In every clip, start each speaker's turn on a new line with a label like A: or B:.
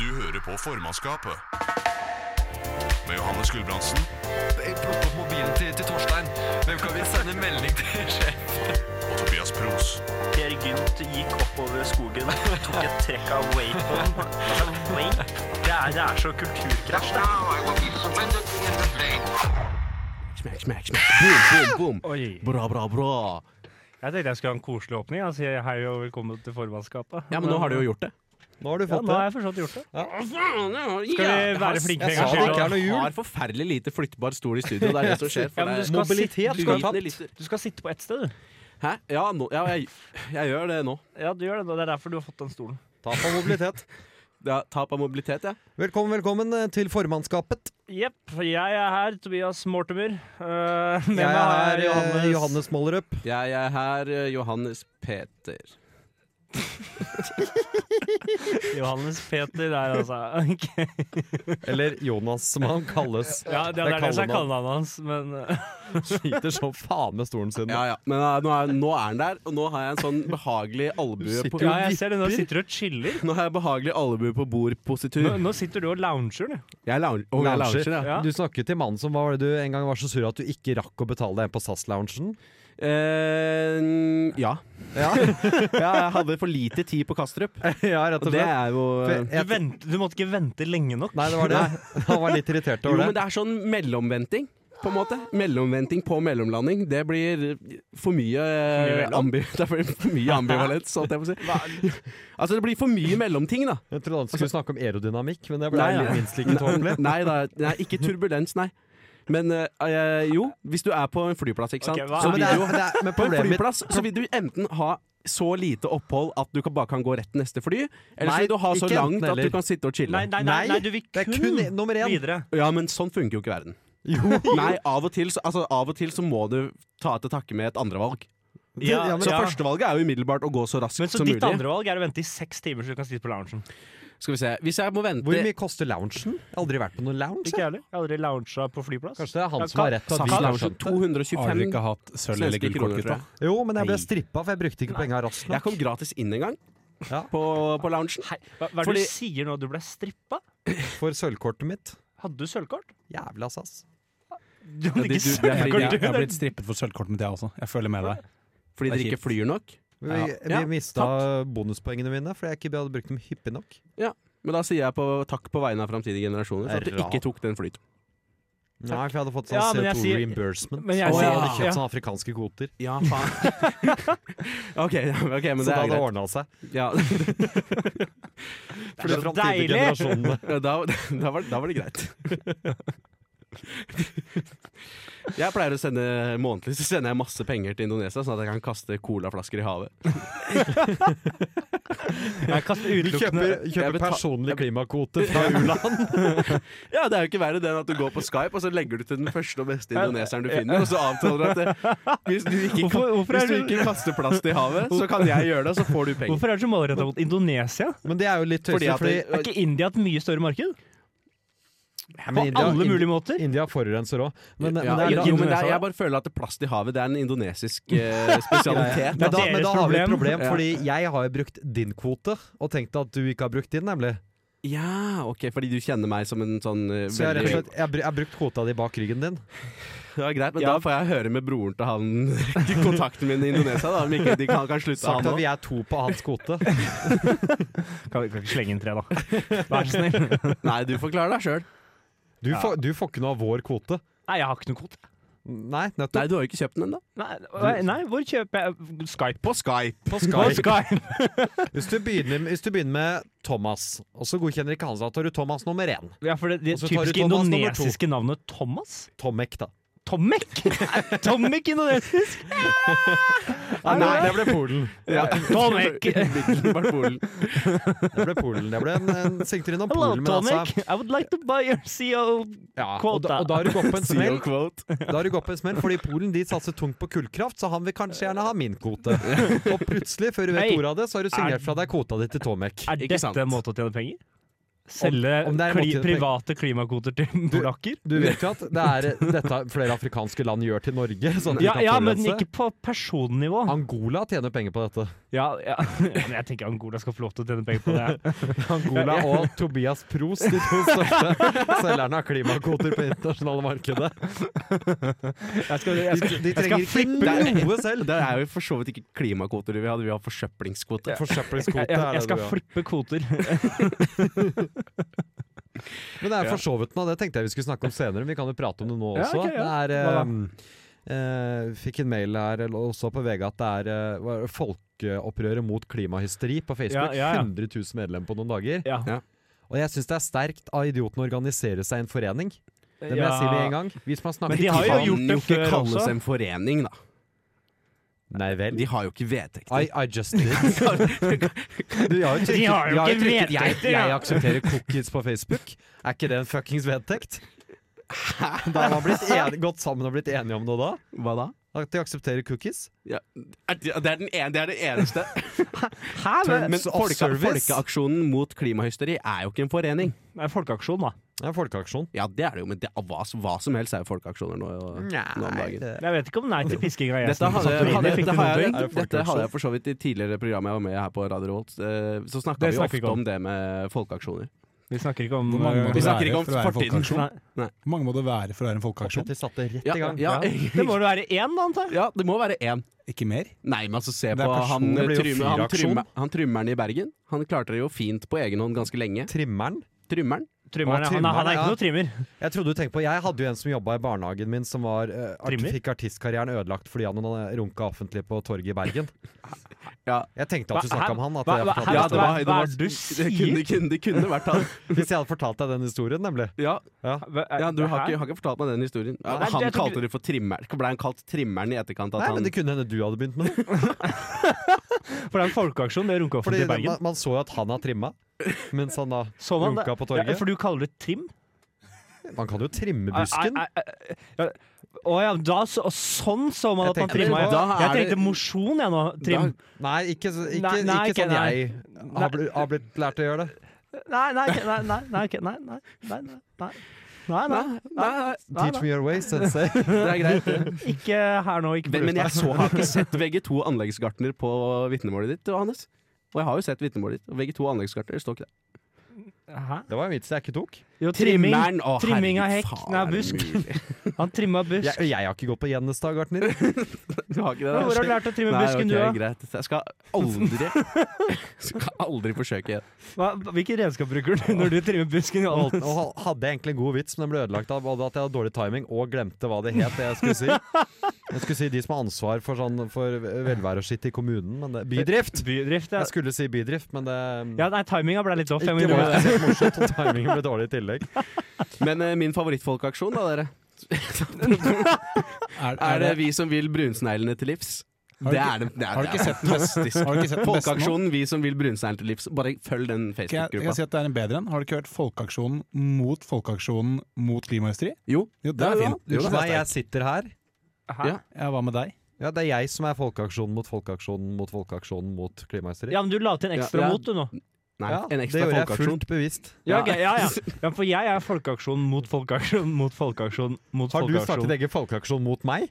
A: Du hører på formannskapet. Med Johannes Gulbrandsen
B: Jeg plukker opp mobilen til, til Torstein. Hvem kan vi sende melding til sjef?
A: og Tobias Pros.
C: Per Gynt gikk oppover skogen og tok et trekk av wakeboarden. Altså, wake? Det er, det er så kulturkrasj. det.
D: Now I will be surrendered in the flame.
E: Smack, smack, smack. Boom, boom, boom.
F: Oi.
E: Bra, bra, bra.
F: Jeg tenkte jeg skulle ha en koselig åpning. Jeg sier hei og velkommen til formannskapet.
E: Ja, men nå har du jo gjort det.
G: Nå har du
F: ja,
G: fått
F: nå har
G: det.
F: jeg forstått gjort det.
E: Skal
F: vi være flinke
E: Jeg
F: en gang
E: sa det
F: til,
E: ikke
G: da?
E: er noe
G: Jeg
E: jul.
G: har
E: Har forferdelig lite flyttbar stol i studio. Det er det som skjer.
F: Ja, men du skal sitte-
E: Mobilitet
F: du
E: skal
F: skal
E: ha
F: ha
E: tatt.
F: Du skal sitte på ett sted, du.
E: Hæ? Ja, nå- ja jeg, jeg gjør det nå.
F: Ja, du gjør det. nå. Det er derfor du har fått den stolen.
G: Ta på mobilitet.
E: Ja, tap av mobilitet, ja.
G: Velkommen, velkommen eh, til formannskapet.
F: Jepp. Jeg er her, Tobias Mortimer. Eh,
G: Jeg
F: med meg har
G: er
F: jeg
G: eh, Johannes Mollerup.
E: Jeg er her, eh, Johannes Peter.
F: Johannes Peter der, altså. Ok.
G: Eller Jonas, som han kalles.
F: Ja, det, er det som er kallenavnet hans, men eh,
G: Sliter som faen med stolen sin.
E: Ja, ja. Men eh, nå, er, nå er han der, og nå har jeg en sånn behagelig albue på
F: Ja, jeg ser det. Nå sitter du og chiller.
E: Nå har jeg behagelig albue på
F: Nå,
E: bord-positur.
F: nå sitter du og lounger, du.
E: Jeg er lounge, oh, jeg
G: Lounger.
E: lounger ja.
F: Ja.
G: Du snakket til mannen som var, du en gang var så sur at du ikke rakk å betale deg på SAS-loungen.
E: Eh, ja.
G: Ja.
E: ja. Jeg hadde for lite tid på Kastrup.
G: ja, rett
E: Og
G: og
E: det
G: slett.
E: er jo
G: For
F: Du,
G: jeg-
F: vent, du måtte ikke vente lenge nok.
G: Nei, det var det. Han var litt irritert
E: Jo,
G: over
E: men
G: det.
E: det er sånn mellomventing, på en måte. Mellomventing på mellomlanding. Det blir for mye, eh,
F: mellom.
E: ambi det blir for mye ambivalens, holdt jeg på å si. Altså, det blir for mye mellomting, da.
G: Jeg trodde han skulle snakke om aerodynamikk, men det ble
E: Nei, nei.
G: minst like tåpelig.
E: Nei da, nei, ikke turbulens, nei. Men eh, eh, jo, hvis du er på en flyplass, ikke sant.
F: Ok, hva
E: så
F: er-
G: Men
E: vil
G: det
E: du
G: er,
E: jo,
G: det er, men
E: på en
G: problemet mitt
E: flyplass så vil du enten ha så lite opphold at du kan, bare kan gå rett til neste fly, eller
G: Nei,
E: så vil du ha så
G: ikke enten
E: langt at
G: eller.
E: du kan sitte og chille.
F: Nei, nei, nei, nei, du vil
G: det er
F: kun,
G: kun i- nummer én.
F: videre.
E: Ja, men sånn funker jo ikke verden.
G: Jo.
E: Nei, av og til, så- altså, av og til så må du ta til takke med et andrevalg.
F: Ja,
G: Ja, men-
E: Så førstevalget er jo umiddelbart å gå så raskt
F: Men så
E: som
F: ditt
E: mulig.
F: andre valg er å vente i seks timer så du kan sitte på loungen.
E: Skal vi se, Hvis jeg må vente
G: Hvor mye koster loungen? Jeg har Aldri vært på noen lounge.
F: Ikke jeg heller. Jeg har aldri lounga på flyplass.
G: Kanskje det er han
F: Ja,
G: som har
F: kan-
G: rett til at
E: SAS
G: vi
E: Lounge
G: kanskje-
E: 225
H: hatt sølv
E: svenske kroner, tror jeg.
G: Jo, men jeg ble strippa, for jeg brukte ikke penga raskt
E: Jeg
G: nok.
E: kom gratis inn en gang
G: Ja.
E: på, på loungen.
F: Hei, hva, hva er det
E: Fordi-
F: du sier nå? Du ble strippa?
G: For sølvkortet mitt.
F: Hadde du sølvkort?
G: Jævla SAS.
F: Du hadde ikke
E: det- du- det er fordi
F: sølvkort, du!
H: Jeg har
F: Det
H: blitt strippet for sølvkort mitt, jeg også. Jeg føler med deg.
E: Fordi
H: Det er
E: dere ikke
H: kjipt.
E: flyr nok.
G: Vi,
H: Ja.
G: vi
E: Ja,
G: mista bonuspoengene mine fordi jeg ikke hadde brukt dem hyppig nok.
E: Men da sier jeg på, takk på vegne av framtidige generasjoner for at
G: Det
E: du
G: er
E: ikke tok den flyturen.
G: Nei, for jeg hadde fått sånn
F: Ja, men jeg
G: CO2
F: sier-
G: reimbursement.
F: men jeg
G: og jeg
F: sier-
G: hadde kjøpt
F: ja.
G: sånne afrikanske kvoter.
E: Ja, faen. ok, ja, ok, men
G: så da
E: det er
G: hadde det
E: greit.
G: ordna seg.
E: Ja,
G: For de
F: så
G: framtidige
F: deilig!
G: generasjonene.
E: da, da, var, da var det greit. Jeg pleier å sende månedlig Så sender jeg masse penger til Indonesia, sånn at jeg kan kaste colaflasker i havet.
F: Jeg kastet
G: Vi kjøper,
F: utelukkende
E: Jeg
G: kjøper
E: betal-
G: personlig klimakvote fra u-land.
E: Ja, Det er jo ikke verre det enn at du går på Skype og så legger du til den første og beste indoneseren du finner, og så avtaler du at det, hvis, du ikke,
F: Hvorfor- hvorfor er
E: hvis du
F: du-
E: ikke kaster plast i havet, så kan jeg gjøre det, og så får du penger.
F: Hvorfor er det så målretta mot Indonesia?
G: Men det er jo litt
E: Fordi
G: tøysete,
E: at
G: fordi,
E: det-
F: Er ikke India et mye større marked?
G: men
F: På
G: India-
F: alle
G: Ind-
F: mulige måter?
G: India forurenser òg. Men, men,
E: ja,
G: det er da-
E: jo, men det er,
F: Indonesia.
E: jeg bare føler at plast i havet Det er en indonesisk eh, spesialitet.
G: men, da,
F: deres
G: men da har vi et
F: problem.
G: problem, fordi jeg har jo brukt din kvote, og tenkt at du ikke har brukt din, nemlig.
E: Ja, ok, fordi du kjenner meg som en sånn eh,
G: Så jeg har rett og
E: veldig-
G: slett jeg har br- jeg har brukt kvota di bak ryggen din.
E: Ja, greit, men
F: Ja.
E: da får jeg høre med broren til han til kontakten min i Indonesia, da, om ikke de kan, kan slutte
G: Sagt
E: han
G: at vi
E: òg.
G: er to på hans kvote.
F: Kan, kan ikke slenge inn tre, da. Vær så snill.
E: Nei, du får klare deg sjøl.
G: Du, får, du får ikke noe av vår kvote.
F: Nei, jeg har ikke noe kvote.
G: Nei,
E: Nei,
G: nettopp.
E: du har jo ikke kjøpt den ennå.
F: Nei, nei, hvor kjøper jeg Skype?
E: På Skype.
G: På
F: På
G: Skype.
F: Skype.
G: Hvis du begynner, hvis du begynner med Thomas, og så godkjenner ikke han seg, da tar du Thomas nummer én.
F: Ja, for det, det
G: Og så tar du
F: typiske
G: Thomas nummer to.
F: indonesiske navnet Thomas?
G: Tomek, da.
F: Tomek? Er Tomek indonesisk?
G: Nei, det ble Polen.
E: Ja.
F: Tomek!
E: Middelbart Polen.
G: Det ble Polen. Det ble en, en svingtur innom
F: Hello,
G: Polen, men altså
F: Tomek. I would like to buy your E CO
G: ja, og, da, og da har du gått på en smell.
E: Zero quote.
G: Da har du gått på en smell, fordi Polen de satser tungt på kullkraft, så han vil kanskje gjerne ha min kvote. Og plutselig, før du vet
F: Hei.
G: ordet av det, så har du
F: Er-
G: signert fra deg kvota di til Tomek.
F: Er
E: Ikke
F: dette
E: sant?
F: en måte å tjene penger? Selge
G: om det er en
F: kli,
G: måte å tjene
F: private klimakvoter til polakker?
G: Du vet jo at det er dette flere afrikanske land gjør til Norge. Sånn at de
F: Ja,
G: kan
F: ja, men
G: forurense.
F: ikke på personnivå.
G: Angola tjener penger på dette.
F: Ja, ja. Men jeg tenker Angola skal få lov til å tjene penger på det.
G: Angola og Tobias Pros, de to største selgerne av klimakvoter på internasjonale markedet.
E: Jeg skal, jeg skal,
G: De
E: trenger
G: trenger
E: ikke-
G: ikke noe selv.
E: det er jo for så vidt ikke klimakvoter vi hadde, vi har forsøplingskvote.
G: Forsøplingskvote
F: Jeg,
G: er
F: jeg,
G: det
F: jeg skal
G: du har.
F: flippe kvoter.
G: Men det er for så vidt noe, det tenkte jeg vi skulle snakke om senere, men vi kan jo prate om det nå
F: Ja,
G: også.
F: ok, ja.
G: Det
F: Hva
G: er
F: da?
G: ehm, eh, Fikk en mail her eller også på VG at det er eh, hva er det, folkeopprøret mot klimahysteri på Facebook.
F: Ja, ja, ja.
G: 100 000 medlemmer på noen dager.
F: Ja.
E: Ja.
G: Og jeg syns det er sterkt av idiotene å organisere seg i en forening. Det må jeg
F: Ja.
G: si med en gang. Hvis man snakker
F: Men de har jo
G: klima-
E: Kan
F: gjort det
E: ikke
F: før
E: kalles
F: også.
E: en forening, da.
G: Nei vel.
E: De har jo ikke vedtekter.
G: I, I just did. Du, jeg har jo trykket,
F: De har
G: jeg
F: jo ikke
G: trykket- jeg,
F: vedtekter,
G: jeg
F: ja.
G: aksepterer cookies på Facebook. Er ikke det en fuckings vedtekt? Da har man blitt en, gått sammen og blitt enige om noe da?
E: Hva da?
G: At de aksepterer cookies?
E: Ja, er- det, er den ene, det er det eneste.
F: Hæ? Men,
E: Men
G: Terms of
E: folka,
G: service.
E: Folkeaksjonen mot klimahysteri er jo ikke en forening.
F: det er folkeaksjon, da.
G: Det er en folkeaksjon.
E: Ja, det er det jo, men det, hva, hva som helst er jo folkeaksjoner nå, nå om dagen.
G: det-
F: Jeg vet ikke om nei til piskinga jeg
E: Dette
F: som
E: hadde,
F: satte meg inn
E: hadde,
F: i, fikk
E: dette,
F: det
E: har
F: noen
E: jeg,
F: ting.
G: Er det
E: dette hadde
G: folkeaksjon?
E: jeg for så vidt i tidligere program jeg var med i her på Radio Revolt. eh, Så snakka
F: Det snakker vi
E: vi ofte
F: ikke om.
E: om det med folkeaksjoner.
F: Vi snakker ikke om
H: Hvor mange
F: eh,
H: må
E: Vi
H: det
E: snakker
H: være
E: ikke om
H: for å være en
E: fortiden.
H: folkeaksjon?
F: Nei.
H: Hvor mange må det være for å være en folkeaksjon?
G: Petter satte rett
E: Ja,
G: i gang.
E: ja,
F: Det må det være én, da, antar jeg.
E: ja, det må være én.
H: Ikke mer?
E: Nei, men altså se
H: Det er
E: på han,
H: person- det blir jo
E: trymme, han,
H: fyraksjon.
E: trymme, han trymmeren i Bergen. Han klarte det jo fint på egen hånd ganske lenge.
G: Trimmeren.
E: Trymmeren.
F: Trymmeren,
G: Å,
F: ja. han, er- han er
G: trymmeren,
F: ikke noe trimmer.
G: Jeg trodde du tenkte på Jeg hadde jo en som jobba i barnehagen min, som var, eh, art,
F: Trimmer?
G: fikk artistkarrieren ødelagt fordi han eh, runka offentlig på torget i Bergen.
E: Ja.
G: Jeg tenkte at du
F: Hva-
G: snakka
F: hæ?
G: om han. At
F: Hva-
G: jeg
F: hva-
G: fortalte
F: hæ?
G: historien.
F: hva er det du
E: det kunne, det kunne, det kunne vært han.
G: Hvis jeg hadde fortalt deg den historien, nemlig.
E: Ja,
F: Hva-
E: ja du har
F: Hæ?
E: ikke, har ikke fortalt meg den historien.
F: Nei,
E: Ja, han
F: jeg tror ikke-
E: kalte det for trimmer. Ble han kalt trimmeren i etterkant? At
G: Nei,
E: han,
G: men Det kunne hende du hadde begynt med det.
F: For det er en folkeaksjon, det runker
G: Fordi
F: offentlig i Bergen.
G: man, man så jo at han har trimma. Mens han da
F: Så man det?
G: runka på
F: Ja,
G: torget.
F: for du kaller det trim?
G: Man kan jo trimme busken.
F: Ai, ai, ai, ja. Å ja, da, så, og sånn så man
G: Jeg
F: at man
G: tenkte-
F: trimma.
E: Da
F: Jeg
E: er det-
F: tenkte mosjon, jeg nå. Trim.
G: Nei, ikke, så- ikke,
F: Nei, nei,
G: ikke
F: ikke-
G: sånn
F: nei.
G: jeg har blitt, har blitt lært å gjøre det.
F: Nei, nei, ok, nei, nei, nei, ok, nei, nei, nei, nei, nei. Nei, nei, nei, nei,
G: Teach
F: nei.
G: me your way, sensei.
E: det er greit. det.
F: Ikke her nå, ikke på
E: Men, men
F: lufta.
E: jeg så, har ikke sett VG2 anleggsgartner på vitnemålet ditt, Johannes. Og jeg har jo sett vitnemålet ditt, og VG2 anleggsgartner står ikke der.
F: Hæ?
G: Det var en vits jeg ikke tok.
F: Jo, trimming.
E: Trimmeren, å,
F: Trimming av hekk.
E: herregud, faen,
F: Nei,
E: er det
F: busk.
E: mulig?
F: Han trimma busk.
G: Jeg, jeg har ikke gått på Gjennestad, gartner.
E: Du har ikke det?
F: Hvor
E: der?
F: har du lært å trimme
E: Nei,
F: busken,
E: ok,
F: du,
E: greit. Jeg skal aldri Skal aldri forsøke igjen.
F: da? Hva, hvilke redskap bruker du når du trimmer busken?
G: Og
F: Johannes?
G: ha- hadde jeg egentlig en god vits, men den ble ødelagt av både at jeg hadde dårlig timing og glemte hva det het. det Jeg skulle si Jeg skulle si de som har ansvar for, sånn, for velvære og skitt i kommunen. Men det, bydrift!
F: Bydrift, ja.
G: Jeg skulle si bydrift, men det
F: Ja, nei, timinga ble litt sånn, off.
G: Ikke
F: Jeg må
G: var
F: innrømme det.
G: spesielt morsomt, og timingen ble dårlig i tillegg.
E: Men eh, min favorittfolkeaksjon, da, dere.
H: Er,
E: Er det vi som vil brunsneglene til livs?
H: Har
E: Det
H: du
E: er, den- det er,
H: Har du
E: det
H: ikke
E: er
H: sett den beste?
E: fantastisk.
H: Har du ikke sett den beste nå?
E: Folkeaksjonen Vi som vil brunsneglene til livs. Bare følg den
H: Kan jeg, kan jeg
E: Facebook-gruppa.
H: si at det er en bedre en? Har du ikke hørt Folkeaksjonen mot Folkeaksjonen mot klimahysteri?
E: Jo,
H: Jo, det
E: Ja,
H: er
E: ja.
H: fint.
E: Jo,
G: Unnskyld
E: da.
G: meg, jeg sitter her.
F: Hæ?
E: Ja.
H: Ja, hva med deg?
G: Ja, Det er jeg som er folkeaksjonen mot folkeaksjonen mot folkeaksjonen mot klimahysteri.
F: Ja, men du la til en ekstra
E: Ja, ja.
F: mot, du nå.
E: Nei,
G: Ja,
E: en
G: det
E: ekstra
G: gjorde jeg
E: folkeaksjon.
G: fullt bevisst.
F: Ja, ok, ja, ja. ja, for jeg er folkeaksjon mot folkeaksjon mot folkeaksjon mot
G: Har du
F: folkeaksjon.
G: startet egen folkeaksjon mot meg?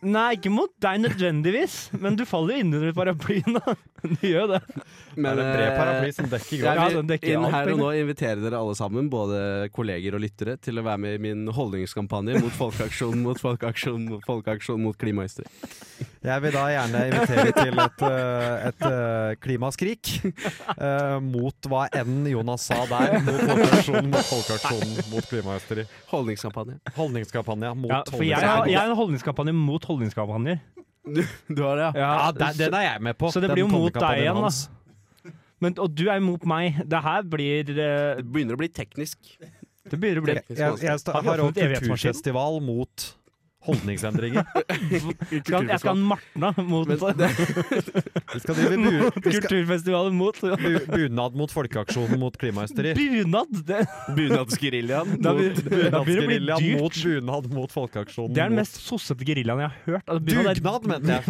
F: Nei, ikke mot deg nødvendigvis, men du faller jo innunder paraplyen, da. Du gjør jo det.
G: Det er en bred paraply som dekker
E: Jeg
G: godt.
F: Ja,
E: vil
F: den dekker
E: inn
F: alt,
E: her og
F: egentlig.
E: nå invitere dere alle sammen, både kolleger og lyttere, til å være med i min holdningskampanje mot folkeaksjon mot folkeaksjon mot folkeaksjon mot klimahysteri.
G: Jeg vil da gjerne invitere til et, eh, et eh, klimaskrik eh, mot hva enn Jonas sa der. Mot folkeaksjonen mot folkeaksjonen mot klimahysteri.
E: Holdningskampanje.
G: Holdningskampanja mot
F: Ja, for jeg, har-
G: holdningskampanja.
F: jeg er en holdningskampanje mot holdningskampanjer.
E: Du, du har det, ja?
G: Ja, den, den er jeg med på.
F: Så det
G: Den
F: blir jo mot deg
G: holdningskampanjen
F: igjen, da.
G: hans.
F: Men, og du er imot meg. Det her blir eh,
E: Det begynner å bli teknisk.
F: Det begynner å bli
G: Jeg, jeg, jeg sta-
F: Har vi
G: har
F: åpnet
G: også
F: evighetsmaskinen?
G: kulturfestival mot holdningsendringer.
F: skal, Jeg skal ha en Martna mot
E: Men det,
G: Vi skal drive bu vi skal
F: Kulturfestivalen mot
G: bu bunad mot folkeaksjonen mot klimahysteri.
F: Bunad! Det,
E: Bunadsgeriljaen.
F: da blir da blir det å bli
G: Bunadsgeriljaen
F: dyrt.
G: mot bunad mot folkeaksjonen.
F: Det er den
G: mot-
F: mest sossete geriljaen jeg har hørt. Altså, bunad er-
G: Dugnad, mente jeg,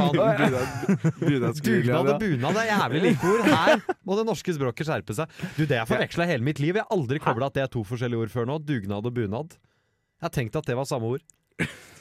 G: faen. Dugnad og
E: Bunadsgeriljaen.
G: bunad er jævlig like ord. Her må det norske språket skjerpe seg. Du, Det har forveksla hele mitt liv. Jeg har aldri kobla at det er to forskjellige ord før nå. Dugnad og bunad. Jeg har tenkt at det var samme ord.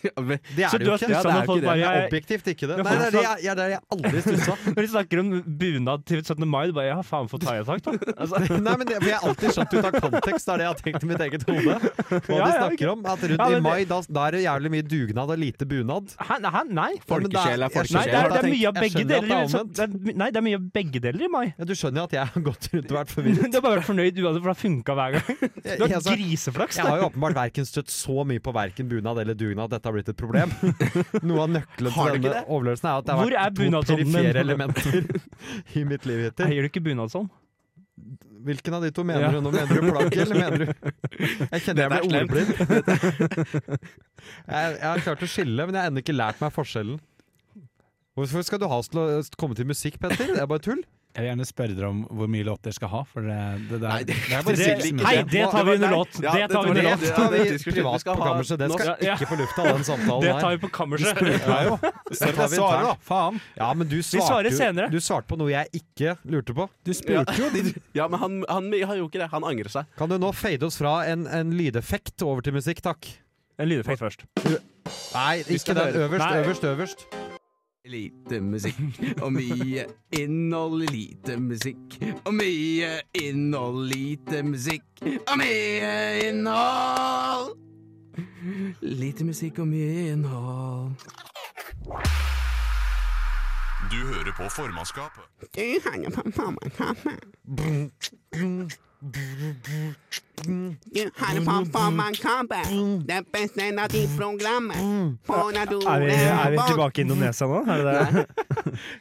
E: Ja, men-
G: Det er
F: Så
G: det
F: du
G: jo
F: har
G: ikke.
F: stusset
G: det,
F: når
G: er jo ikke
F: folk
G: det.
F: bare,
G: det er
F: jeg-
G: objektivt ikke det.
F: Det er
G: Nei, det er det
F: fortsatt-
G: jeg, jeg, det er jeg aldri stussa.
F: Når de snakker om bunad til 17. mai, bare ja, faen for thaiatakk, da. Altså,
G: Nei, men det, for Jeg har alltid skjønt ut av kontekst, det er det jeg har tenkt i mitt eget hode. Hva
F: Ja,
G: de
F: ja,
G: snakker om. At rundt
F: Ja, men
G: i
F: det-
G: mai, da, da er det jævlig mye dugnad og lite bunad.
F: hæ, nei, hæ, nei.
G: Ja, men det
E: Folkesjel er
G: jeg skjønner
F: Nei, det er,
G: at
F: det er
G: jeg
F: mye av
G: tenker- jeg
F: begge
G: skjønner at
F: deler.
G: det er
F: liksom. i- så-
G: omvendt.
F: Det er, my- nei, det er mye av begge deler i mai.
G: Ja, du skjønner jo at jeg har gått rundt og vært forvirret.
F: Du har bare vært fornøyd uansett, for det har funka hver gang.
G: Jeg,
F: Du har
G: jeg, altså,
F: griseflaks.
G: jeg har jo åpenbart verken støtt så mye på verken bunad eller dugnad at dette har blitt et problem. Noe av nøkkelen
E: Har
G: til
E: du ikke
G: denne overlevelsen er at det
F: Hvor er
G: har vært to
F: bunadsånden min?
G: perifere elementer i mitt liv hittil.
F: Eier du ikke bunad sånn?
G: Hvilken av de to mener
F: Ja.
G: du nå? Mener du plagg, eller mener du Jeg kjenner jeg ble
E: Dette
G: ordblind. Jeg, jeg har klart å skille, men jeg har ennå ikke lært meg forskjellen. Hvorfor skal du ha oss til å komme til musikk, Petter? Det er bare tull.
H: Jeg vil gjerne spørre dere om hvor mye låt dere skal ha, for det, det, der-
E: Nei, det-
H: er bare
F: det-
H: sikkert-
F: nei, det tar vi under
E: Nei,
F: låt.
E: ja,
F: Det tar vi
E: var
F: under
E: det-
F: låt.
G: Det
E: det
G: tar
E: var
G: vi
E: det diskusjonen.
G: privat
E: skal
G: på
E: ha-
G: kammerset. Det skal
F: Nå- Ja.
G: ikke få lufta, den
F: Det
G: samtalen
F: tar
G: her.
F: vi på kammerset.
G: Nei, jo.
H: Så dere
G: tar vi en
H: svarer,
G: tern.
H: da! Faen!
G: Ja, men du
F: svarer
G: svarte, jo,
F: senere.
G: du svarte på noe jeg ikke lurte på.
H: Du spurte jo! De,
E: Ja, men han, han, han gjorde ikke det. Han angrer seg.
G: Kan du nå fade oss fra en, en lydeffekt over til musikk, takk?
F: En lydeffekt først.
G: Nei, ikke
E: skal
G: den.
E: høre.
G: Øverst,
F: Nei.
G: øverst, øverst.
E: Lite musikk og mye innhold. Lite musikk og mye innhold. Lite musikk og mye innhold. Lite musikk og mye innhold.
A: Du hører på formannskapet.
F: Er vi, er vi tilbake i Indonesia nå? Er det det?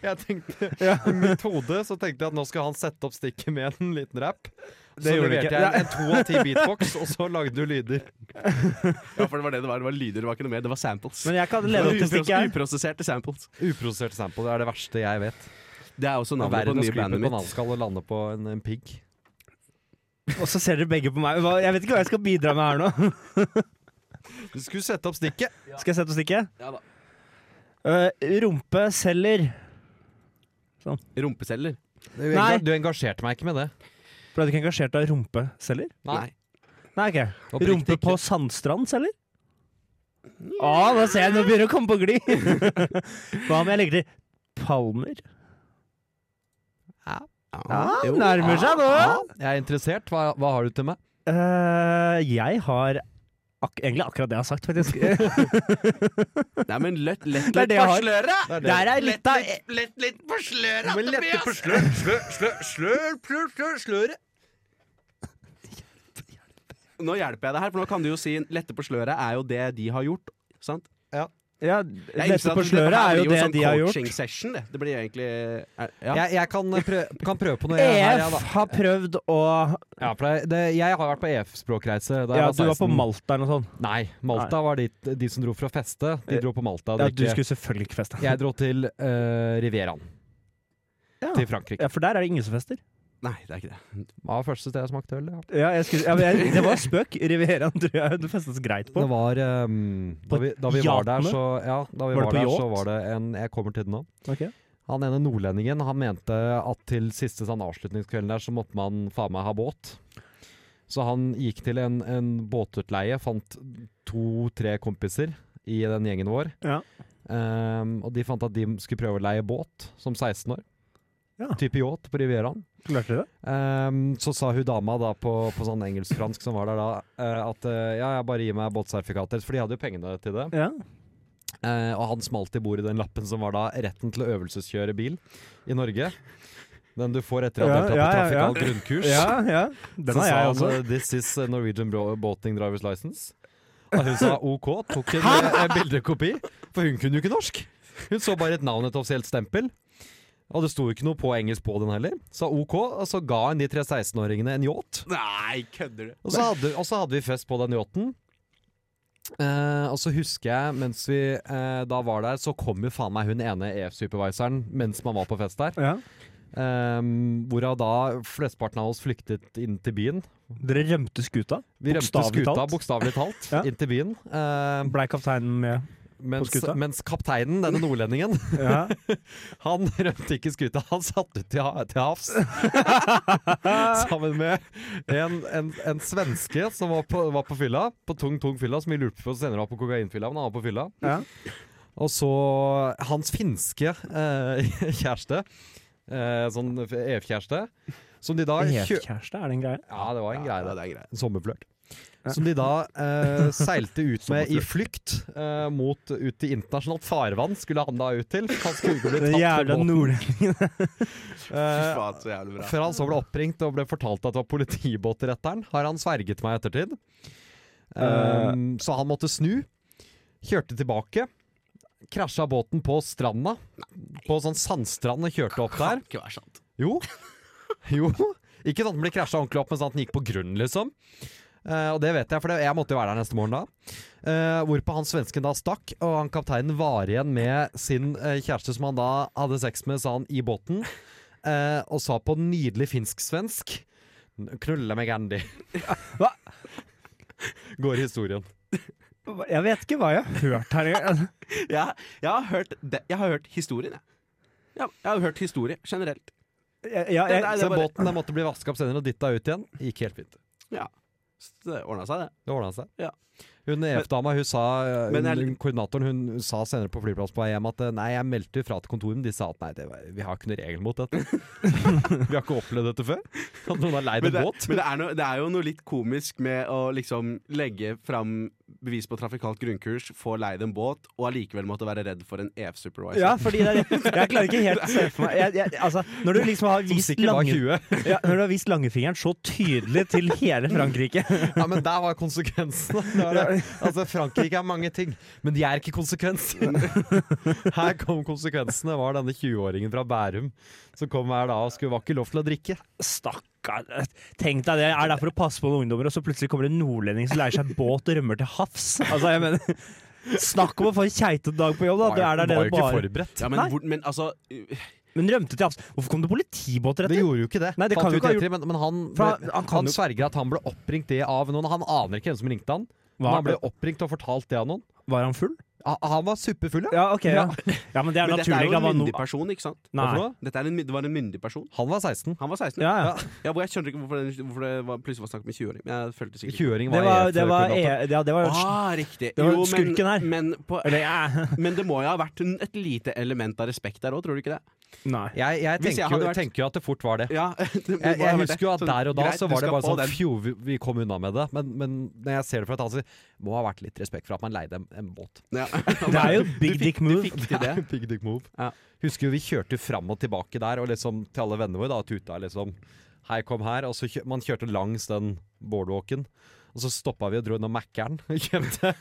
G: Jeg tenkte, I mitt hode så tenkte jeg at nå skal han sette opp stikket med en liten rap. Så
F: gjorde
G: leverte
F: ikke.
G: jeg en- en to av ti beatbox, og så lagde du lyder.
E: Ja, for det var det det var. Det var lyder, det var ikke noe mer. Det var samples.
F: Men jeg kan
E: Det
F: leve
E: var
F: opp til
E: upros-
F: stikket her.
E: Uprosesserte samples.
G: Uprodusert sample det er det verste jeg vet.
E: Det er også navnet
G: Verre
E: på
G: enn å
E: det nye
G: skli på
E: bandet mitt.
G: bananskall og lande på en, en pigg.
F: Og så ser dere begge på meg. Hva- Jeg vet ikke hva jeg skal bidra med her nå.
G: Du skulle sette opp stikket!
F: Skal jeg sette opp stikket?
E: Ja da.
F: Uh, rumpe selger.
E: Rumpeceller.
G: Du,
F: Nei.
G: du engasjerte meg ikke med det.
F: Ble du ikke engasjert av rumpeselger?
G: Nei.
F: Nei, ok.
G: Oppriktig
F: Rumpe
G: ikke.
F: på Sandstrand selger? Å, nå ser jeg, nå begynner det å komme på glid! Hva om jeg legger til Palmer? Ah, nærmer seg nå!
G: Ja, jeg er interessert. Hva, hva har du til meg?
F: Eh, jeg har ak egentlig akkurat det jeg har sagt, faktisk. det
E: Nei, men lett, lett,
F: er
E: lett
F: det jeg har.
E: sløret!
G: Det er det.
F: Der er litt av
E: Lett litt på sløret!
G: Men lette på slør, slør, slør, slør, slør, slør, sløret.
E: Nå hjelper jeg deg her, for nå kan du jo si lette på sløret er jo det de har gjort. Sant?
F: ja,
E: Jeg
F: Dette
E: innser at
F: på
E: dette
F: sløret
E: her
F: er jo
E: blir
F: det
E: en sånn
F: de har gjort.
E: Coaching session, det. Det blir jo egentlig er, ja.
G: Jeg, jeg kan, eh, prø- kan prøve på noe. Jeg, her, jeg,
F: EF
G: da.
F: E har prøvd å
G: Ja, for det, det, jeg har vært på EF-språkreise. da jeg
F: Ja, du var på
G: 16.
F: Malta eller noe sånt.
G: Nei, Malta var dit, de som dro for å feste. De dro på Malta. og
F: Eh, Ja, du
G: drikke.
F: skulle selvfølgelig ikke feste.
G: Jeg dro til eh, Rivieraen.
F: Ja.
G: Til Frankrike.
F: Ja, for der er det ingen som fester.
E: Nei, det er ikke det.
G: Det var første sted jeg smakte øl. Ja.
F: Ja, jeg skulle, ja, men jeg, det var spøk. Rivieraen tror jeg det festes greit på.
G: Det var ehm, Da
F: På
G: vi, da vi var der,
F: yatene?
G: så Ja, da vi
F: Var det
G: var,
F: på
G: der, så
F: yacht?
G: var det en Jeg kommer til det nå.
F: Ok.
G: Han ene nordlendingen han mente at til siste sånn avslutningskvelden der, så måtte man faen meg ha båt. Så han gikk til en, en båtutleie, fant to-tre kompiser i den gjengen vår.
F: Ja.
G: Ehm, og de fant at de skulle prøve å leie båt som 16 år.
F: Ja.
G: Type yacht på Rivieraen.
F: Klarte dere det?
G: Ehm, så sa hun dama da på, på sånn engelsk-fransk som var der da, eh, at eh, ja, jeg bare gir meg båtsertifikater. For de hadde jo pengene til det.
F: Ja.
G: Eh, og han smalt i bordet i den lappen som var da retten til å øvelseskjøre bil i Norge. Den du får etter å ha
F: Ja,
G: deltatt
F: ja,
G: på
F: ja, ja.
G: trafikalt grunnkurs.
F: ja, ja. Den
G: så
F: har
G: sa
F: jeg
G: han
F: også.
G: eh, 'This is a Norwegian bro- boating driver's license'. Og hun sa OK, tok en, en bildekopi, for hun kunne jo ikke norsk. Hun så bare et navn, et offisielt stempel. Og det sto jo ikke noe på engelsk på den heller. Sa OK, og så ga hun de tre 16-åringene en yacht.
E: Nei, kødder du?
G: Og så hadde, og så hadde vi fest på den yachten. Eh, og så husker jeg, mens vi eh, da var der, så kom jo faen meg hun ene EF-supervisoren mens man var på fest der.
F: Ja.
G: Um, Hvorav da flesteparten av oss flyktet inn til byen.
F: Dere rømte skuta?
G: Vi rømte
F: Bokstavelig
G: skuta
F: talt.
G: bokstavelig talt
F: Ja.
G: inn til byen. Eh,
F: Blei kapteinen med
G: Mens,
F: skuta?
G: mens kapteinen, denne nordlendingen,
F: Ja.
G: han rømte ikke skuta. Han satt ut til, ha- til havs sammen med en, en, en svenske som var på, var på fylla, på tung, tung fylla, som vi lurte på senere var på kokainfylla, men han var på fylla.
F: Ja.
G: Og så hans finske eh, kjæreste, eh, sånn EF-kjæreste, som de da kjø...
F: Kjæreste, er det en greie?
G: Ja, det var en greie,
E: Ja,
G: det.
E: det er greit.
G: En sommerflørt. Som de da eh, seilte ut med i flykt eh, mot ut til internasjonalt farvann, skulle han da ut til. Han skulle ikke bli
F: Den
G: tatt
F: jævla
G: på båten.
F: nordlendingen.
E: Fy
G: Eh,
E: faen, altså. så jævlig bra.
G: før han så ble oppringt og ble fortalt at det var politibåt i retteren, har han sverget meg i ettertid.
E: Eh.
G: Um, så han måtte snu. Kjørte tilbake. Krasja båten på stranda. På sånn sandstrand og kjørte opp der.
E: Kan ikke være sant.
G: Jo. jo. Ikke sånn at den ble krasja ordentlig opp, men sånn at den gikk på grunn, liksom. Eh, og det vet jeg, for det, jeg måtte jo være der neste morgen da. Eh, hvorpå han svensken da stakk, og han kapteinen var igjen med sin eh, kjæreste, som han da hadde sex med, sa han, i båten. eh, og sa på nydelig finsk-svensk 'Knulle meg, Andy'.
F: Hva?
G: Går historien.
F: Jeg vet ikke hva jeg har hørt her engang.
E: Jeg, jeg, har hørt det, jeg har hørt historien, jeg. Ja, jeg har hørt historie generelt.
F: Jeg- jeg-
E: Det- det er
F: jeg-
G: Så
E: bare-
G: båten den måtte bli vaska opp senere og dytta ut igjen. Gikk helt fint.
E: Ja. Så det ordna seg, det.
G: Det ordna seg.
E: Ja.
G: Hun EF-dama, hun sa eh, hun,
E: Men jeg-
G: hun, koordinatoren, hun sa senere på flyplass på vei hjem at eh, nei, jeg meldte fra til kontoret, men de sa at nei, det var, vi har ikke noen regel mot dette. vi har ikke opplevd dette før. At noen har leid
E: Men,
G: en
E: det,
G: båt.
E: men det, er noe, det er jo noe litt komisk med å liksom legge fram bevis på trafikalt grunnkurs, få leid en båt, og allikevel måtte være redd for en E EF-supervisor.
F: Ja, fordi det er det. Jeg klarer ikke helt å se for meg jeg, jeg, altså, Når du liksom har
G: Som
F: vist,
G: sikkert var
F: lange,
G: 20.
F: ja, når du har vist langefingeren så tydelig til hele Frankrike
G: Ja, men der var konsekvensene. Det var det. Altså, Frankrike er mange ting, men de er ikke konsekvenser. Her kom konsekvensene, var denne 20-åringen fra Bærum som kom her da og skulle, var ikke lov til å drikke.
F: Stakkar. Tenk deg det. Jeg er der for å passe på noen ungdommer, og så plutselig kommer det en nordlending som leier seg båt og rømmer til havs. Altså, jeg mener Snakk om å få en keitete dag på jobb, da. Du er der
G: var
F: nede
G: jo ikke
F: bare
G: forberedt.
E: Ja, men,
F: Nei.
E: hvor, men altså uh,
F: Men rømte til havs. Hvorfor kom det politibåt rett
G: Det gjorde jo ikke det.
F: Nei, det
G: Fant
F: kan jo
G: ut
F: ikke ha
G: etter, men, men han,
F: For han- han
G: han,
F: kan jo-
G: sverger at han ble oppringt det av noen. Han aner ikke hvem som ringte han. Men han ble oppringt og fortalt det av noen.
F: Var han full?
G: Ha- Han var superfull, ja.
F: Ja, OK. Ja, ja men det er
E: Men dette er
F: naturlig.
E: jo
F: da
E: en
F: var
E: myndig
F: no...
E: person, ikke sant?
F: Nei.
G: Hva for noe?
E: Dette er en, my- det var en myndig person.
G: Han var 16.
E: Han var 16.
F: Ja, ja.
E: Ja, hvor jeg skjønner ikke hvorfor, den, hvorfor det var, plutselig var snakk om 20-åring. men Jeg følte sikkert ikke
G: 20-åringen
F: Det
G: var,
F: var,
G: EF
F: det var,
G: koordinator.
F: e- ja, det var
E: Ah, riktig.
F: Det var
E: Jo, men-
F: skurken her.
E: Men, på,
F: Eller eh,
E: men det må jo ha vært en, et lite element av respekt der òg, tror du ikke det?
F: Nei.
G: Jeg, jeg,
E: Hvis
G: tenker,
E: jeg
G: jo,
E: hadde vært-
G: tenker jo at det fort var det.
E: Ja, det må
G: Jeg,
E: ha
G: jeg
E: vært
G: husker jo at
E: Sånn,
G: der og da
E: greit,
G: så
E: du
G: var det
E: skal
G: bare
E: få
G: sånn
E: den.
G: Fjo, vi, vi kom unna med det. Men, men når jeg ser det fra et annet side, må ha vært litt respekt for at man leide en, en båt.
E: Ja.
F: Det er jo big
E: Du fikk-
F: dick
E: Du
F: move.
E: fikk til det.
G: Big dick move.
E: Ja.
G: Husker jo vi kjørte fram og tilbake der, og liksom til alle vennene våre da, tuta liksom Hei, kom her. Og så kjø man kjørte langs den boardwalken, og så stoppa vi og dro innom Mac-eren og kjøpte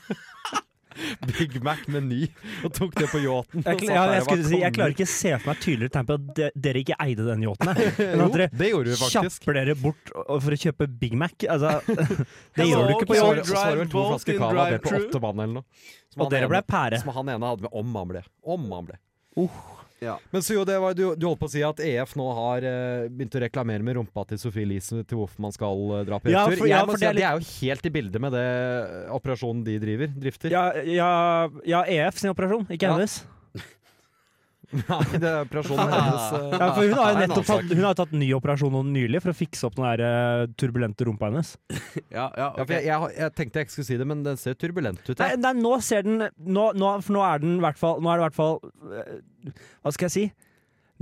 G: Big Mac meny og tok det på yachten.
F: Jeg, kl- ja, jeg, skulle si, jeg klarer ikke å se for meg et tydeligere tegn på at de- dere ikke eide den yachten. her. Men
G: Jo,
F: at dere
G: det gjorde vi faktisk.
F: kjapper dere bort og- for å kjøpe Big Mac. Altså, det
E: Hello,
F: gjør du ikke på
G: Og så var det- og
F: jobb.
G: så var det vel to
E: Drive boat
G: flasker
E: in
G: cava, det på
E: drive-thru.
G: åtte mann eller noe. Som
F: Og
G: han
F: dere
G: ene-
F: ble pære.
G: Som han ene hadde med om han ble. Om han ble.
E: Ja.
G: Uh. Men så jo, det var, du, du holdt på å si at EF nå har eh, begynt å reklamere med rumpa til Sophie Elise til hvorfor man skal eh, dra på
F: Ja,
G: retur.
F: for- ja,
G: jeg må
F: for
G: si
F: det er
G: at De er jo helt i bildet med det eh, operasjonen de driver. Drifter.
F: Ja, ja, ja, EF sin operasjon, ikke
G: Ja.
F: hennes.
G: Nei, det er operasjonen hennes. eh.
F: Ja, for hun har
G: Nei,
F: jo
G: en
F: nettopp
G: annen
F: tatt, hun har tatt ny operasjon nå nylig for å fikse opp den der eh, turbulente rumpa hennes.
E: Ja,
G: Ja,
E: ja,
G: for jeg,
E: ok.
G: jeg, har- jeg tenkte jeg ikke skulle si det, men den ser turbulent ut.
F: Nei,
G: Ja.
F: nei, nå ser den Nå, nå, for nå er den i hvert fall Nå er det i hvert fall eh, Hva skal jeg si?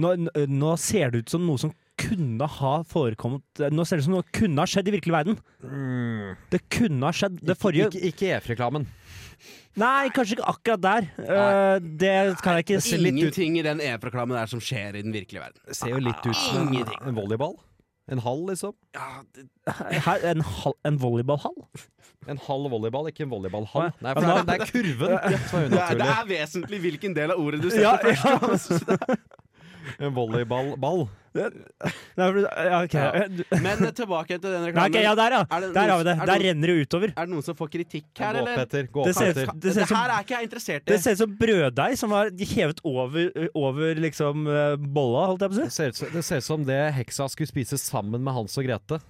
F: Nå, n- eh, nå ser det ut som noe som kunne ha forekommet eh, Nå ser det ut som noe kunne ha skjedd i virkelig verden.
E: Mm.
F: Det kunne ha skjedd. Det forrige
G: Ikke, ikke E EF-reklamen.
F: Nei, kanskje ikke akkurat der. Eh, det kan jeg ikke si.
E: Ingenting i den EF-reklamen der som skjer i den virkelige verden.
G: Ser jo litt ut som en,
E: Ingenting.
G: en volleyball. En halv, liksom.
E: Ja, det,
F: Her, en, hal- en volleyballhall?
G: En halv volleyball, ikke en volleyballhall.
F: Nei,
G: Nei, for det
F: men
G: er, det er kurven som er
E: det, er, det
G: unaturlig.
E: er vesentlig hvilken del av ordet du
F: Ja,
E: setter
F: ja.
E: først. Altså,
G: En volleyballball.
F: Nei, for- ja, ok.
E: Ja.
F: Du-
E: Men eh, tilbake til den
F: Nei,
E: reklamen.
F: ok, ja, der, ja.
E: Er det noe-
F: Der har vi det.
E: er det
F: Der
E: noe-
F: renner det utover.
E: Er det noen som får kritikk her,
G: Gå opp,
E: eller?
G: Petter. Gå
F: Det
G: opp,
F: ser-
G: Petter.
F: det ser
E: Dette
F: som-
E: her er ikke jeg interessert i.
F: Det ser ut som brøddeig som var hevet over, over liksom eh, bolla, holdt jeg på å si.
G: Det ser, ut som, det ser ut som det heksa skulle spise sammen med Hans og Grete.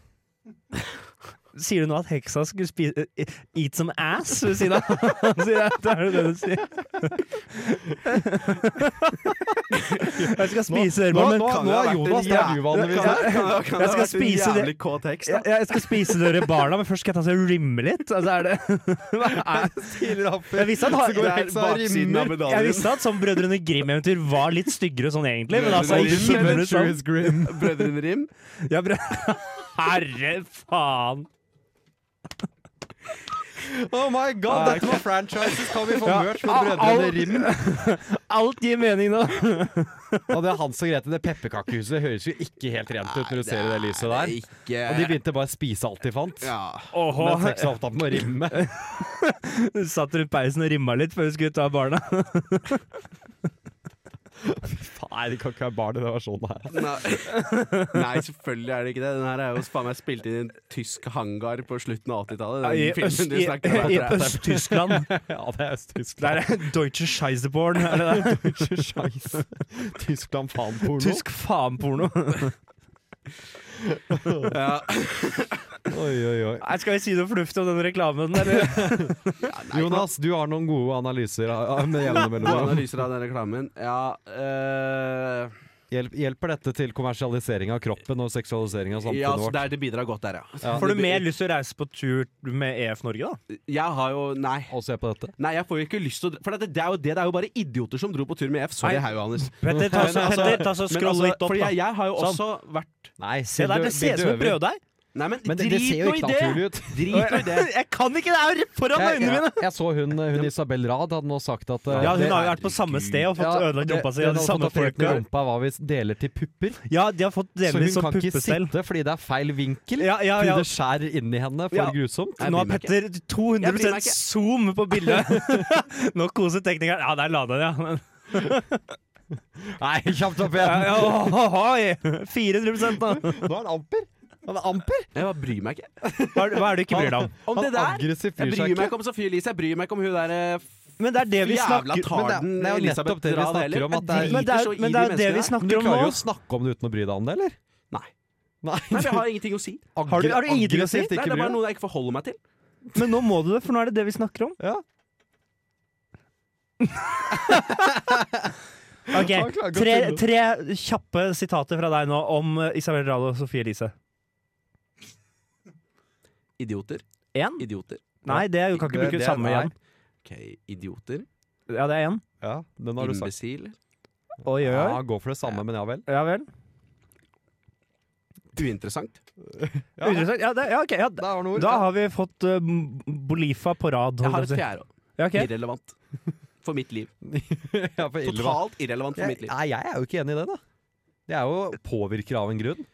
F: Sier du nå at heksa skulle spise Eat some ass ved siden av? Sier jeg, det er det det du sier. Jeg skal spise
G: Nå,
F: dere,
G: nå,
F: barn.
G: nå er Jonas der du vanligvis
E: Kan
G: er.
E: det- kan det- kan det
F: Jeg
E: ha
F: skal
E: vært en
F: spise det.
E: Jævlig kåt heks, da.
F: Jeg, jeg skal spise dere barna, men først skal jeg ta så rimme litt. Altså, er det, hva er, jeg visste at,
E: Det er
F: har-
E: baksiden av medaljen.
F: jeg visste at sånn Brødrene Grim-eventyr var litt styggere sånn egentlig, men altså
E: Brødrene Grimm,
F: himmelens navn.
E: Brødrene Rim.
F: Ja, brø- Herre faen!
G: Oh my god, dette var franchises! Kan vi få merch med Brødrene
F: Al-
G: Rim?
F: Alt gir mening nå.
G: Og det Hans og Grete, det pepperkakehuset høres jo ikke helt rent ut når du ser i det lyset der. Og de
E: Ikke
G: begynte bare å spise alt de fant.
E: Ja.
G: Mens
F: Åhå,
G: heksa opptatt med å rimme.
F: satt rundt peisen og rimma litt før vi skulle ta barna.
G: Nei, det kan ikke være barn i den versjonen her.
E: Nei. Nei, selvfølgelig er det ikke det. Den her er jo faen meg spilt inn i en tysk hangar på slutten av 80-tallet.
F: I
E: Den filmen du snakker om.
F: i- i Øst-Tyskland.
G: Ja, det er Øst-Tyskland.
F: Der er Deutsche Scheiseborn. er det det?
G: Ikke sjans. Tyskland faen porno.
F: Tysk faen-porno.
E: Ja.
G: Oi, oi, oi.
F: Nei, Skal vi si noe fornuftig om den reklamen, eller?
G: Jonas, du har noen gode analyser av- av- med jevne
E: Noen
G: mellomrom.
E: Analyser av den reklamen. Ja eh,
G: Hjelp, hjelper dette til kommersialisering av kroppen og seksualisering av samfunnet
E: ja så
G: vårt?
E: der, det bidrar godt der, ja.
G: Ja.
F: Får du mer lyst til å reise på tur med EF Norge, da?
E: Jeg har jo Nei.
G: Og se på dette.
E: Nei, jeg får jo ikke lyst til å For det, det er jo det, det er jo bare idioter som dro på tur med F. Sorry,
F: Nei.
E: hei, Johannes.
F: Petter, ta så, Petter, ta så
E: Men
F: skroll
E: altså,
F: litt opp,
E: fordi
F: da.
E: jeg, jeg har jo
F: Sånn.
E: også vært
G: Nei,
F: Se der, det ser ut som en brøddeig.
E: Nei, men,
G: Men det,
E: drit
G: det ser jo
E: nå i
G: ikke
E: det!
G: naturlig ut.
E: Drit nå i det.
F: Jeg kan ikke det her foran
G: Jeg,
F: øynene
G: jeg,
F: mine!
G: jeg så hun, hun Isabel Rad hadde nå sagt at eh,
F: Ja, hun
G: det-
F: har jo vært på samme sted og fått
G: Ja,
F: ødelagt
G: det-
F: rumpa si
G: det
F: av de
G: hadde
F: samme
G: fått operert med
F: folka.
G: Rumpa var hvis deler til pupper,
F: Ja, de har fått
G: så
F: delvis
G: hun
F: sånn
G: kan ikke
F: puppestell.
G: sitte fordi det er feil vinkel.
F: Ja, ja,
G: Fordi
F: ja.
G: det skjærer inni henne for
F: Ja.
G: grusomt.
E: Jeg
F: Nå har
E: bryr meg ikke.
F: Petter
E: Jeg bryr
F: 200
E: meg ikke.
F: zoom på bildet. Nå koser teknikeren. Ja, der la den, ja. Men-
G: Nei, kjapt opp
F: ja,
G: igjen!
F: ja ohoi. 400 da.
G: Nå er han amper! Han er amper!
E: Jeg bare bryr meg ikke.
F: Hva er, hva er det du ikke bryr deg om?
E: Om det
G: Han
E: der!
G: aggressivt bryr seg
E: Jeg bryr meg
G: ikke.
E: ikke om Sophie Elise, jeg bryr meg ikke om hun der eh,
F: Men det er det vi
E: jævla
F: snakker
G: men det er-
E: tarden
G: det er jo
E: Elisabeth
G: nettopp det vi
E: Dra,
G: snakker
E: eller?
G: om, at
E: Jeg
G: det er-
F: Men det
E: driter
F: er,
E: så i
F: men
E: de
F: det, er det vi
E: menneskene
G: Men du
F: snakker
E: der.
F: om
G: klarer
F: nå.
G: jo å snakke om det uten å bry deg om det, eller?
E: Nei.
G: Nei,
E: Nei, for jeg har ingenting å si.
F: Har du- har du ingenting å si?
G: Aggressivt
E: Nei,
G: ikke
E: det er
G: bry
E: bare
G: deg.
E: noe jeg ikke forholder meg til.
F: Men nå må du det, for nå er det det vi snakker om.
G: Ja.
F: Ok,
G: Han klarer ikke å
F: tre,
G: tulle.
F: tre kjappe sitater fra deg nå om eh, Isabel Rado og Sofie Elise.
E: Idioter.
F: Én?
E: Idioter.
F: Nei, det du kan ikke
G: Det-
F: bruke
G: det-
F: samme
G: nei.
F: igjen.
E: Ok, idioter.
F: Ja, det er én.
G: Ja, den har du sagt.
E: Imbecil.
F: Oi, oi,
G: Ja,
F: oi.
G: gå for det samme, men ja vel.
F: Ja vel.
E: Uinteressant.
G: Ja.
F: Uinteressant. Ja, det, ja, ok. Ja,
G: Der har du ord.
F: da har vi fått eh, M- Bolifa på rad.
E: Jeg har
F: holdt jeg
E: et
F: på å si.
E: fjerde.
F: Ja, ok.
E: Irrelevant. For mitt liv.
G: Ja, for ille, hva?
E: Totalt irrelevant for
G: Jeg,
E: mitt liv.
G: nei, jeg er jo ikke enig i det, da. Det er jo påvirker av en grunn.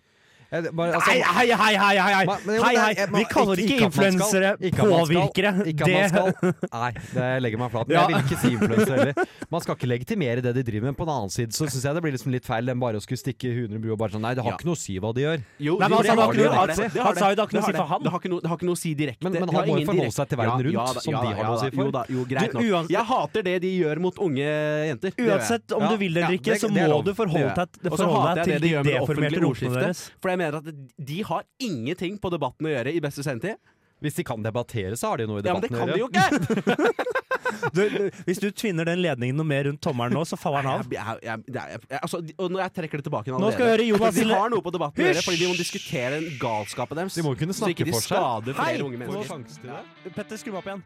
G: Jeg, det- bare, altså,
F: Hei, hei, hei! hei, hei, hei.
G: Men- men jo,
F: hei,
G: det er-
F: hei.
G: jeg-
F: Vi
G: man-
F: kaller ikke
G: at man skal-
F: influensere
G: ikke at man skal-
F: påvirkere.
G: Ikke at man
F: Det
G: skal Nei, det legger meg flat. Men
F: Ja.
G: jeg vil ikke si influenser heller. Man skal ikke legitimere det de driver med. På den annen side så syns jeg det blir liksom litt feil enn bare å skulle stikke hunder i brua og bare sånn Nei, det har
E: Ja.
G: ikke noe å si hva de gjør.
F: Nei, men han
E: Jo, det
F: sa det
E: har
F: har ikke noe-
E: det, det har det, det
F: han
E: har
F: sa jo
E: det,
F: det har ikke noe å si
E: har det.
F: for han.
E: Det har ikke noe, det har ikke noe å si direkte.
G: Men- men
E: Det
G: han
E: har
G: må jo
E: ingen
G: forholde
E: direkte-
G: seg til verden rundt,
E: da,
G: som de har noe
E: da,
G: å si
E: da.
G: for.
E: Jo da, jo, greit
F: Du,
E: nok.
F: uansett-
E: Jeg hater det de gjør mot unge jenter. Det gjør jeg.
F: Uansett om
G: Ja,
F: du vil det eller
G: ja,
F: ikke,
G: det-
F: så
G: det er
F: må
G: lov.
F: du forholde
E: Det gjør
F: deg,
E: Og så
F: forholde
E: hater
F: deg til
E: jeg det de
F: de
E: gjør med
F: deformerte
E: det offentlige
F: ordene
E: ordskiftet.
F: deres.
E: For jeg mener at de har ingenting på debatten å gjøre i beste sendetid.
G: Hvis de kan debattere, så har de noe i
E: Ja, men det
G: debatten å
E: kan de
G: gjøre.
E: jo ikke!
F: Du, hvis du tvinner den ledningen noe mer rundt tommelen nå, så faller den
E: Jeg,
F: av.
E: jeg, jeg, det er- jeg, altså, de- og når jeg trekker det tilbake igjen
F: Nå skal jeg høre Jonas
E: De
F: Hille-
E: har noe på debatten å gjøre, fordi de må
F: Hysj!
E: diskutere den galskapen deres.
G: De må kunne
E: så
G: snakke
E: ikke de
G: for
E: skader
G: seg.
E: flere unge mennesker.
F: Petter, skru meg opp igjen.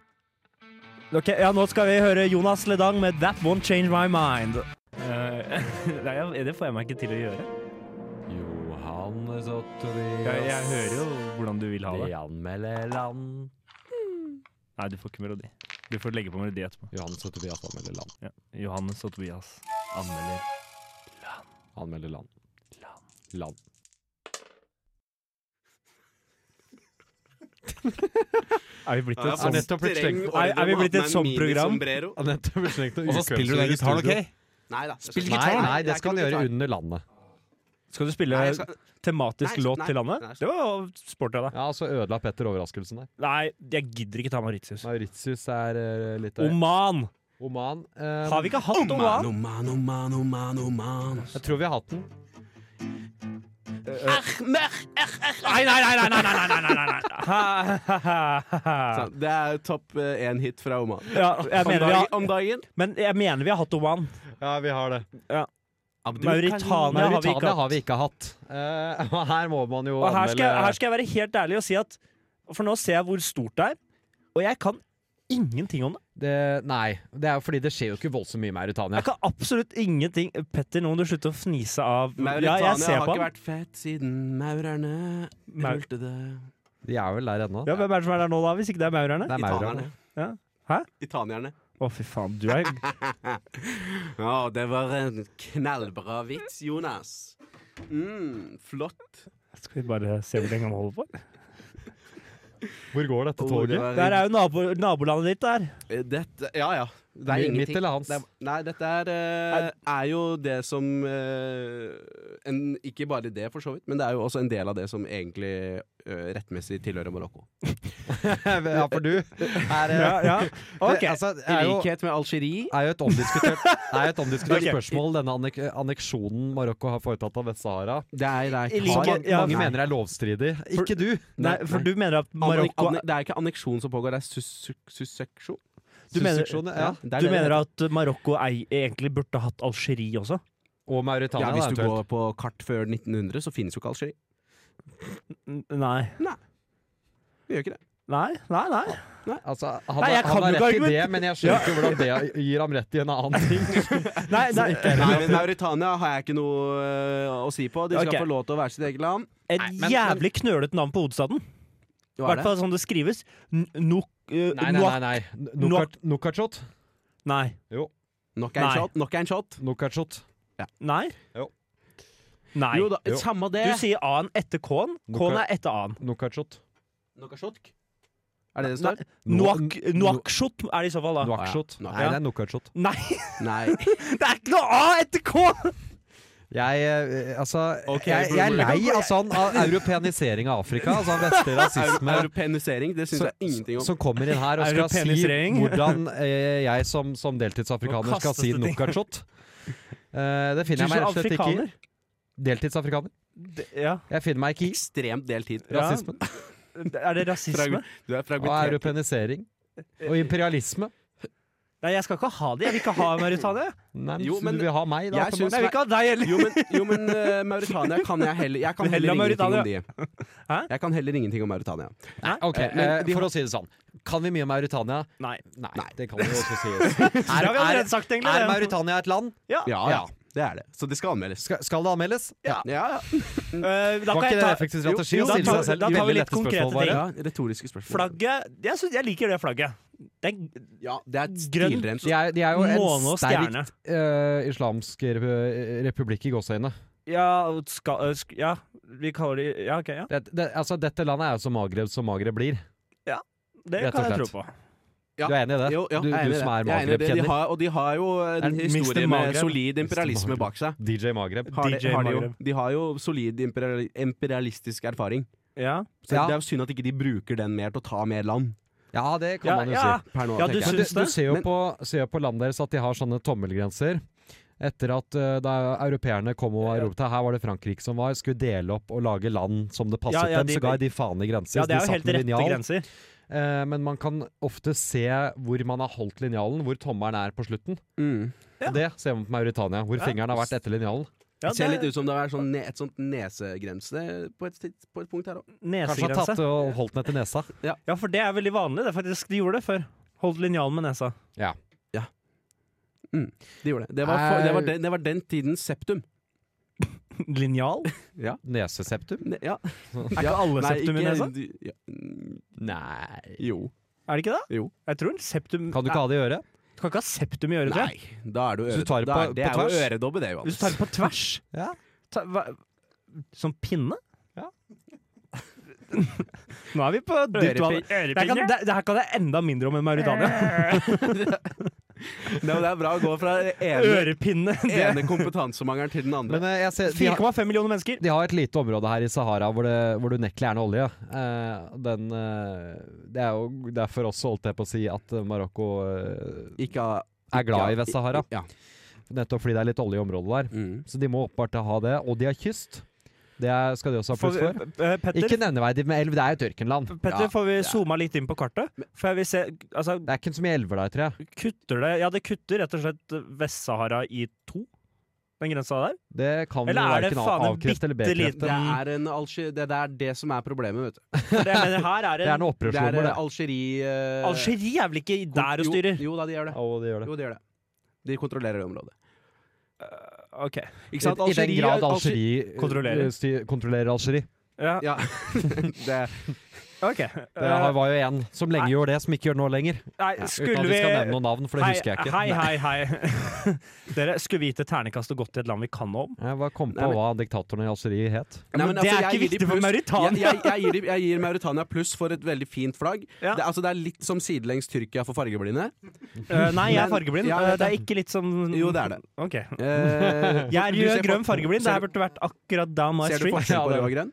F: Ok, ja, Nå skal vi høre Jonas Ledang med 'That Won't Change My Mind'. Eh, nei, det får jeg meg ikke til å gjøre.
G: Johannes og
F: hvordan du vil
G: De anmelder land.
F: Nei, du får ikke melodi. Du får legge på melodi etterpå.
G: Johannes og Tobias anmelder land.
F: Johannes og Tobias anmelder.
G: Anmelder land. Land.
F: Er vi blitt et
G: sånn-
F: sånt?
G: nettopp blitt slengt-
E: ordre
F: Er- er vi
E: om at
F: blitt
E: den
F: et
E: er
F: sånt program?
E: mini-sombrero.
G: Og
H: Og så spiller du den gitaren, OK?
E: Nei da.
H: Spill
G: Nei, nei, det skal han gjøre under landet.
F: Skal du spille
E: Nei, jeg skal-
F: tematisk
E: Nei,
F: låt
E: nei,
F: til landet?
E: nei, jeg
F: Det var sporty av deg.
G: Ja, så ødela Petter overraskelsen der.
F: Nei, jeg gidder ikke ta Mauritius.
G: Mauritius er eh, litt av-
F: Oman!
G: Oman. eh,
F: Har vi ikke hatt Oman?
E: Mano, mano, mano, mano, mano. Eh,
G: Jeg tror vi har hatt den.
F: Nei, nei, nei, nei, nei, nei, nei, nei, nei, nei. Ha, ha, ha, ha, ha.
E: Det er topp én hit fra Oman.
F: Ja, jeg
E: Om,
F: mener vi
E: dag,
F: har,
E: om dagen.
F: men jeg mener vi har hatt Oman.
G: Ja, vi har det.
F: Mauritania har vi ikke
G: Mauritania har
F: hatt.
G: vi ikke hatt. Eh, og her må man jo
F: Og her skal, jeg-
G: anmelde-
F: her skal jeg være helt ærlig og si at For nå ser jeg hvor stort det er, og jeg kan ingenting om det.
G: det, Nei, det er jo fordi det skjer jo ikke voldsomt mye i Mauritania.
F: Jeg kan absolutt ingenting. Petter, nå må du slutte å fnise av
E: Mauritania
F: Ja, jeg ser
E: har
F: på
E: ikke
F: han.
E: vært fett siden maurerne
F: Maur-
E: rulte det
G: De er vel der ennå.
F: Ja, hvem er det som er der nå, da, hvis ikke det er maurerne?
G: Det er maurerne.
E: Italierne.
F: Ja. Hæ?
E: Italierne.
F: Å, fy faen. Du er
E: Ja, det var en knallbra vits, Jonas. Mm, flott.
F: Skal vi bare se hvor lenge han holder på?
G: Hvor går dette toget?
E: Oh,
F: Der
E: det var-
F: er jo nabo, nabolandet ditt der.
E: Eh, Dette, ja, ja. Det er
G: Mitt
E: ingenting.
G: eller hans?
E: Det er, nei, dette er, eh, er jo det som eh, en, Ikke bare det, for så vidt, men det er jo også en del av det som egentlig eh, rettmessig tilhører Marokko.
G: ja, for du er, eh,
F: Ja, ja. Ok.
G: det, altså, det
E: I
G: er jo,
E: likhet med Algerie.
G: er jo et omdiskutert, er jo et omdiskutert
F: Ok.
G: spørsmål, denne annek anneksjonen Marokko har foretatt av Vest-Sahara.
E: Det er, det er
F: I
E: ikke
G: Som
F: likhet-
G: mange,
F: ja,
G: mange
F: nei.
G: mener er lovstridig. Ikke du!
F: Nei, for du mener at Marokko
E: Anne- anne- Det er ikke anneksjon som pågår, det er sus- susseksjon.
F: Du mener,
G: Susseksjon, ja.
E: det er
F: du
E: det det
F: mener
E: heter.
F: at Marokko ei, egentlig burde hatt Algerie også?
G: Og Mauritania,
E: ja,
G: da,
E: Hvis du
G: eventuelt.
E: går på kart før 1900, så finnes jo ikke Algerie.
F: N- Nei.
E: Vi gjør ikke det.
F: Nei, nei, nei.
G: Altså, han,
F: Nei,
G: har-
F: jeg kan
G: han har
F: jo
G: rett
F: ikke
G: i det,
F: argument-
G: men jeg skjønner ikke hvordan det gir ham rett i en annen ting.
F: nei, nei.
E: Nei, men Mauritania har jeg ikke noe øh, å si på. De skal
F: Ok.
E: få lov til å være sitt eget land.
F: Et
G: Nei, men-
F: jævlig knølete navn på hovedstaden. I
E: Hva er
F: hvert
E: det?
F: fall sånn det skrives. N- Nok... eh,
G: Nei, nei, nei. nei. Nukat- Nukatshot.
F: nok- Nei.
E: Nok en
F: Nei.
E: shot. Nok en shot.
G: Nukatshot.
F: Nei.
G: Jo.
F: Nei.
E: Jo da,
G: Jo.
E: samme det.
F: Du sier A-en etter K-en. K-en er etter A-en.
G: Nukatshot.
E: Nok en shot. Er det det det
F: Nei,
E: står?
F: Noak- Noakshot er det i så fall, da.
G: Nuakshot.
E: Ja.
G: Ah, Nei, det er Nukatshot.
F: Nei,
E: Nei.
F: det er ikke noe A etter K!
G: Jeg, eh, altså,
E: Ok,
G: jeg, jeg er lei av sånn av europeanisering av Afrika. Altså av vestlig rasisme.
E: Europenisering, det syns
G: som-
E: jeg ingenting om.
G: Som kommer inn her og skal si
F: Europeanisering.
G: hvordan eh, jeg som, som deltidsafrikaner
F: Nå
G: skal
F: kastes
G: si
F: det ting.
G: Nukatshot. Eh, det finner
F: Du
G: jeg meg
F: er
G: rett og slett ikke i.
F: afrikaner.
G: Deltidsafrikaner.
F: Ja.
G: Jeg finner meg ikke i
E: Ekstremt del tid.
F: Ja.
G: rasismen
F: Er det rasisme?
E: Du er
G: og
E: fragmentert.
G: europeanisering. Og imperialisme.
F: Nei, jeg skal ikke ha det. Jeg vil ikke ha Mauritania.
G: Nei, men,
E: Jo, men
G: du vil ha meg, da? på en
E: jeg syns-
G: måte.
F: Jeg vil ikke ha deg heller.
E: Jo, men, jo, men øh, Mauritania kan jeg heller Jeg kan
F: Men
E: heller
F: heller
E: ingenting om de.
F: Hæ?
E: Jeg kan heller ingenting om Mauritania.
G: Nei, ok,
E: Eh, men
G: eh,
E: de
G: For
E: har-
G: å si det sånn. Kan vi mye om Mauritania?
F: Nei.
G: Nei, det kan vi jo også sies.
F: Det
G: Er,
F: har vi
G: er,
F: allerede sagt, egentlig.
G: er
F: det.
G: Mauritania et land?
E: Ja, ja. Det er det. Så det skal anmeldes.
G: Skal, skal det anmeldes?
E: Ja, ja.
F: Eh, da
G: Var ikke
F: kan jeg
G: det
F: ta
G: en effektiv strategi
F: Jo,
G: å
F: da
G: stille
F: tar-
G: seg selv
F: da tar vi
G: veldig
F: litt
G: lette spørsmål?
F: konkrete ting.
G: Bare?
E: ja retoriske spørsmål.
F: Flagget jeg, synes, jeg liker det flagget. Det er
E: Ja, det er
F: Grønt.
E: stilrent.
G: De er, de er jo
F: måne
G: en
F: og
G: sterk
F: stjerne.
G: eh, islamsk re- eh, republikk i gåseøynene.
F: Ja, og ska, øh, sk, ja, vi kaller de Ja, ok, ja.
G: Det, det, altså, dette landet er jo så Maghreb som Maghreb blir.
F: Det
G: Rett og
F: kan jeg
G: slett.
F: tro på.
E: Ja.
G: Du er enig i det?
E: Jo, ja,
G: du,
E: jeg er enig
G: du
E: i
G: som er
E: det. Jeg er enig i det. De
G: Maghreb-kjenner.
E: har, og de har jo
G: Er
E: en
G: det
E: historie
F: Mr.
E: med
F: Maghreb?
E: solid imperialisme
G: Maghreb.
E: bak seg.
G: DJ Maghreb.
E: Har de,
F: DJ
E: har de, jo,
F: Maghreb.
E: de har jo solid imperiali- imperialistisk erfaring.
F: Ja,
E: Så
G: Ja.
E: Det er jo synd at ikke de bruker den mer til å ta mer land.
G: Ja, det kan
F: ja,
G: man jo
F: ja.
G: si.
E: Per nå,
F: Ja,
G: Men
F: du
E: tenker jeg.
G: du,
F: Syns
G: du
F: det?
G: ser jo
E: Men-
G: på, ser jo på landet deres at de har sånne tommelgrenser. Etter at eh, da europeerne kom og erobret Her var det Frankrike som var. Skulle dele opp og lage land som det passet
F: Ja, ja,
G: dem.
F: de-
G: Så ga de faen i grenser.
F: ja, det
G: de
F: er jo
G: satt
F: helt
G: med
F: rette
G: linjal.
F: grenser.
G: Eh, men man kan ofte se hvor man har holdt linjalen, hvor tommelen er på slutten.
E: Mm.
F: Ja.
G: Og det ser man på Mauritania, hvor
F: Ja.
G: fingeren har vært etter linjalen.
F: Ja,
E: det ser litt
F: det
E: ut som det er sånn ne, et sånt nesegrense på et, tids- på et punkt her òg.
F: er
G: Kanskje har tatt
F: Nesegrense.
G: og holdt den etter nesa.
F: Ja, for det er veldig vanlig. Det er faktisk De gjorde det før. Holdt linjalen med nesa.
E: De gjorde det. Det var, for,
G: Er-
E: det, var den, det var den tidens septum.
F: Linjal?
G: Neseseptum?
E: Ne- Ja.
F: Er ikke alle
E: Nei,
F: septum i
E: ikke-
F: nesa?
E: du- ja. Mm,
G: Nei
E: Jo.
F: Er det ikke det?
E: Jo.
F: Jeg tror septum
G: Kan du ikke ha det i øret?
F: Du kan ikke ha septum i øret, tror jeg.
E: Nei, da er du
G: Hvis du
E: øre,
G: tar det
E: da er,
G: på-
E: det
G: på
E: er jo
G: tvers?
E: øredobbe, det, Johannes.
F: Hvis du tar det på tvers
G: altså. Ja.
F: ta, hva, Som pinne?
G: Ja.
F: Nå er vi på ditt valg.
E: Ørepin-
F: Det her kan, det, det her kan jeg enda mindre om enn Mauritania.
E: Nei, men det er bra å gå fra det ene,
F: Ørepinne. det-
E: ene kompetansemangelen til den andre.
G: Men eh, jeg ser, de, har,
F: 4,5 millioner mennesker.
G: de har et lite område her i Sahara hvor det, hvor du nekker gjerne olje. Eh, den, eh, det er jo derfor også holdt jeg på å si at eh, Marokko eh,
E: Ikke ha
G: er glad i Vest-Sahara.
E: Ja.
G: Nettopp fordi det er litt olje i området der.
E: Mm.
G: Så de må åpenbart ha det. Og de har kyst. Det er, skal de også ha
F: Får
G: pluss
F: vi,
G: for.
F: eh, Petter,
G: Ikke nevneverdig med elv, det er jo Tyrkenland.
F: Petter,
E: Ja,
F: får vi
E: det er-
F: zooma litt inn på kartet? For jeg vil se Altså,
G: Det er ikke så mye elver der, tror jeg.
F: kutter det Ja, det kutter rett og slett Vest-Sahara i to? Den grensa der?
G: Det kan
F: Eller
G: jo
F: er det
G: verken
F: faen en
G: avkrefte eller
F: bitte liten-
G: bekrefte.
E: Det er, en Alge det, det er det som er problemet, vet du.
F: For det, men her er
G: Det er
F: en
G: noe
E: Det er
G: opprørslover,
E: eh,
G: det.
E: Algerie eh,
F: Algerie er vel ikke
E: kon-
F: der og
E: jo-
F: styrer?
E: Jo da, de gjør det.
G: Å, det gjør det.
E: Jo, de gjør det. De kontrollerer det området.
F: OK.
G: I,
E: Ikke sant?
G: I den
E: Algerie-
G: grad
E: Alger-
G: Algerie eh,
F: Kontrollerer.
G: sty- kontrollerer Algerie.
F: Ja,
E: Ja. det,
F: ok.
G: Det
F: Eh,
G: var jo en som lenge gjorde det, som ikke gjør det nå lenger.
F: Nei,
G: Uten
F: skulle
G: at vi skal nevne
F: vi
G: noen navn, for det
F: Hei,
G: husker jeg ikke.
F: hei, hei. hei. Dere, skulle vi gitt et ternekast og gått til et land vi kan noe om?
G: Jeg bare kom på
E: Nei, men-
G: hva diktatoren i Algerie het.
E: Nei,
F: men
E: men
F: det er
E: altså, jeg
F: ikke
E: gir de
F: viktig for
E: pluss.
F: Mauritania.
E: Jeg, jeg, jeg, gir, jeg gir Mauritania pluss for et veldig fint flagg.
F: Ja.
E: Det, altså, det er litt som sidelengs Tyrkia for fargeblinde.
F: Eh, nei, jeg er
E: Men-
F: fargeblind.
E: Ja, jeg
F: Eh,
E: vet
F: det er ikke litt som
E: Jo, det er det.
F: Ok.
E: Eh,
F: Mm. Jeg er
E: du
F: rød,
E: ser
F: grønn,
E: for-
F: fargeblind. Det
E: ser
F: her burde vært akkurat down my
E: Ser du
F: street.
E: forskjell på
G: Ja, det-
E: rød og grønn?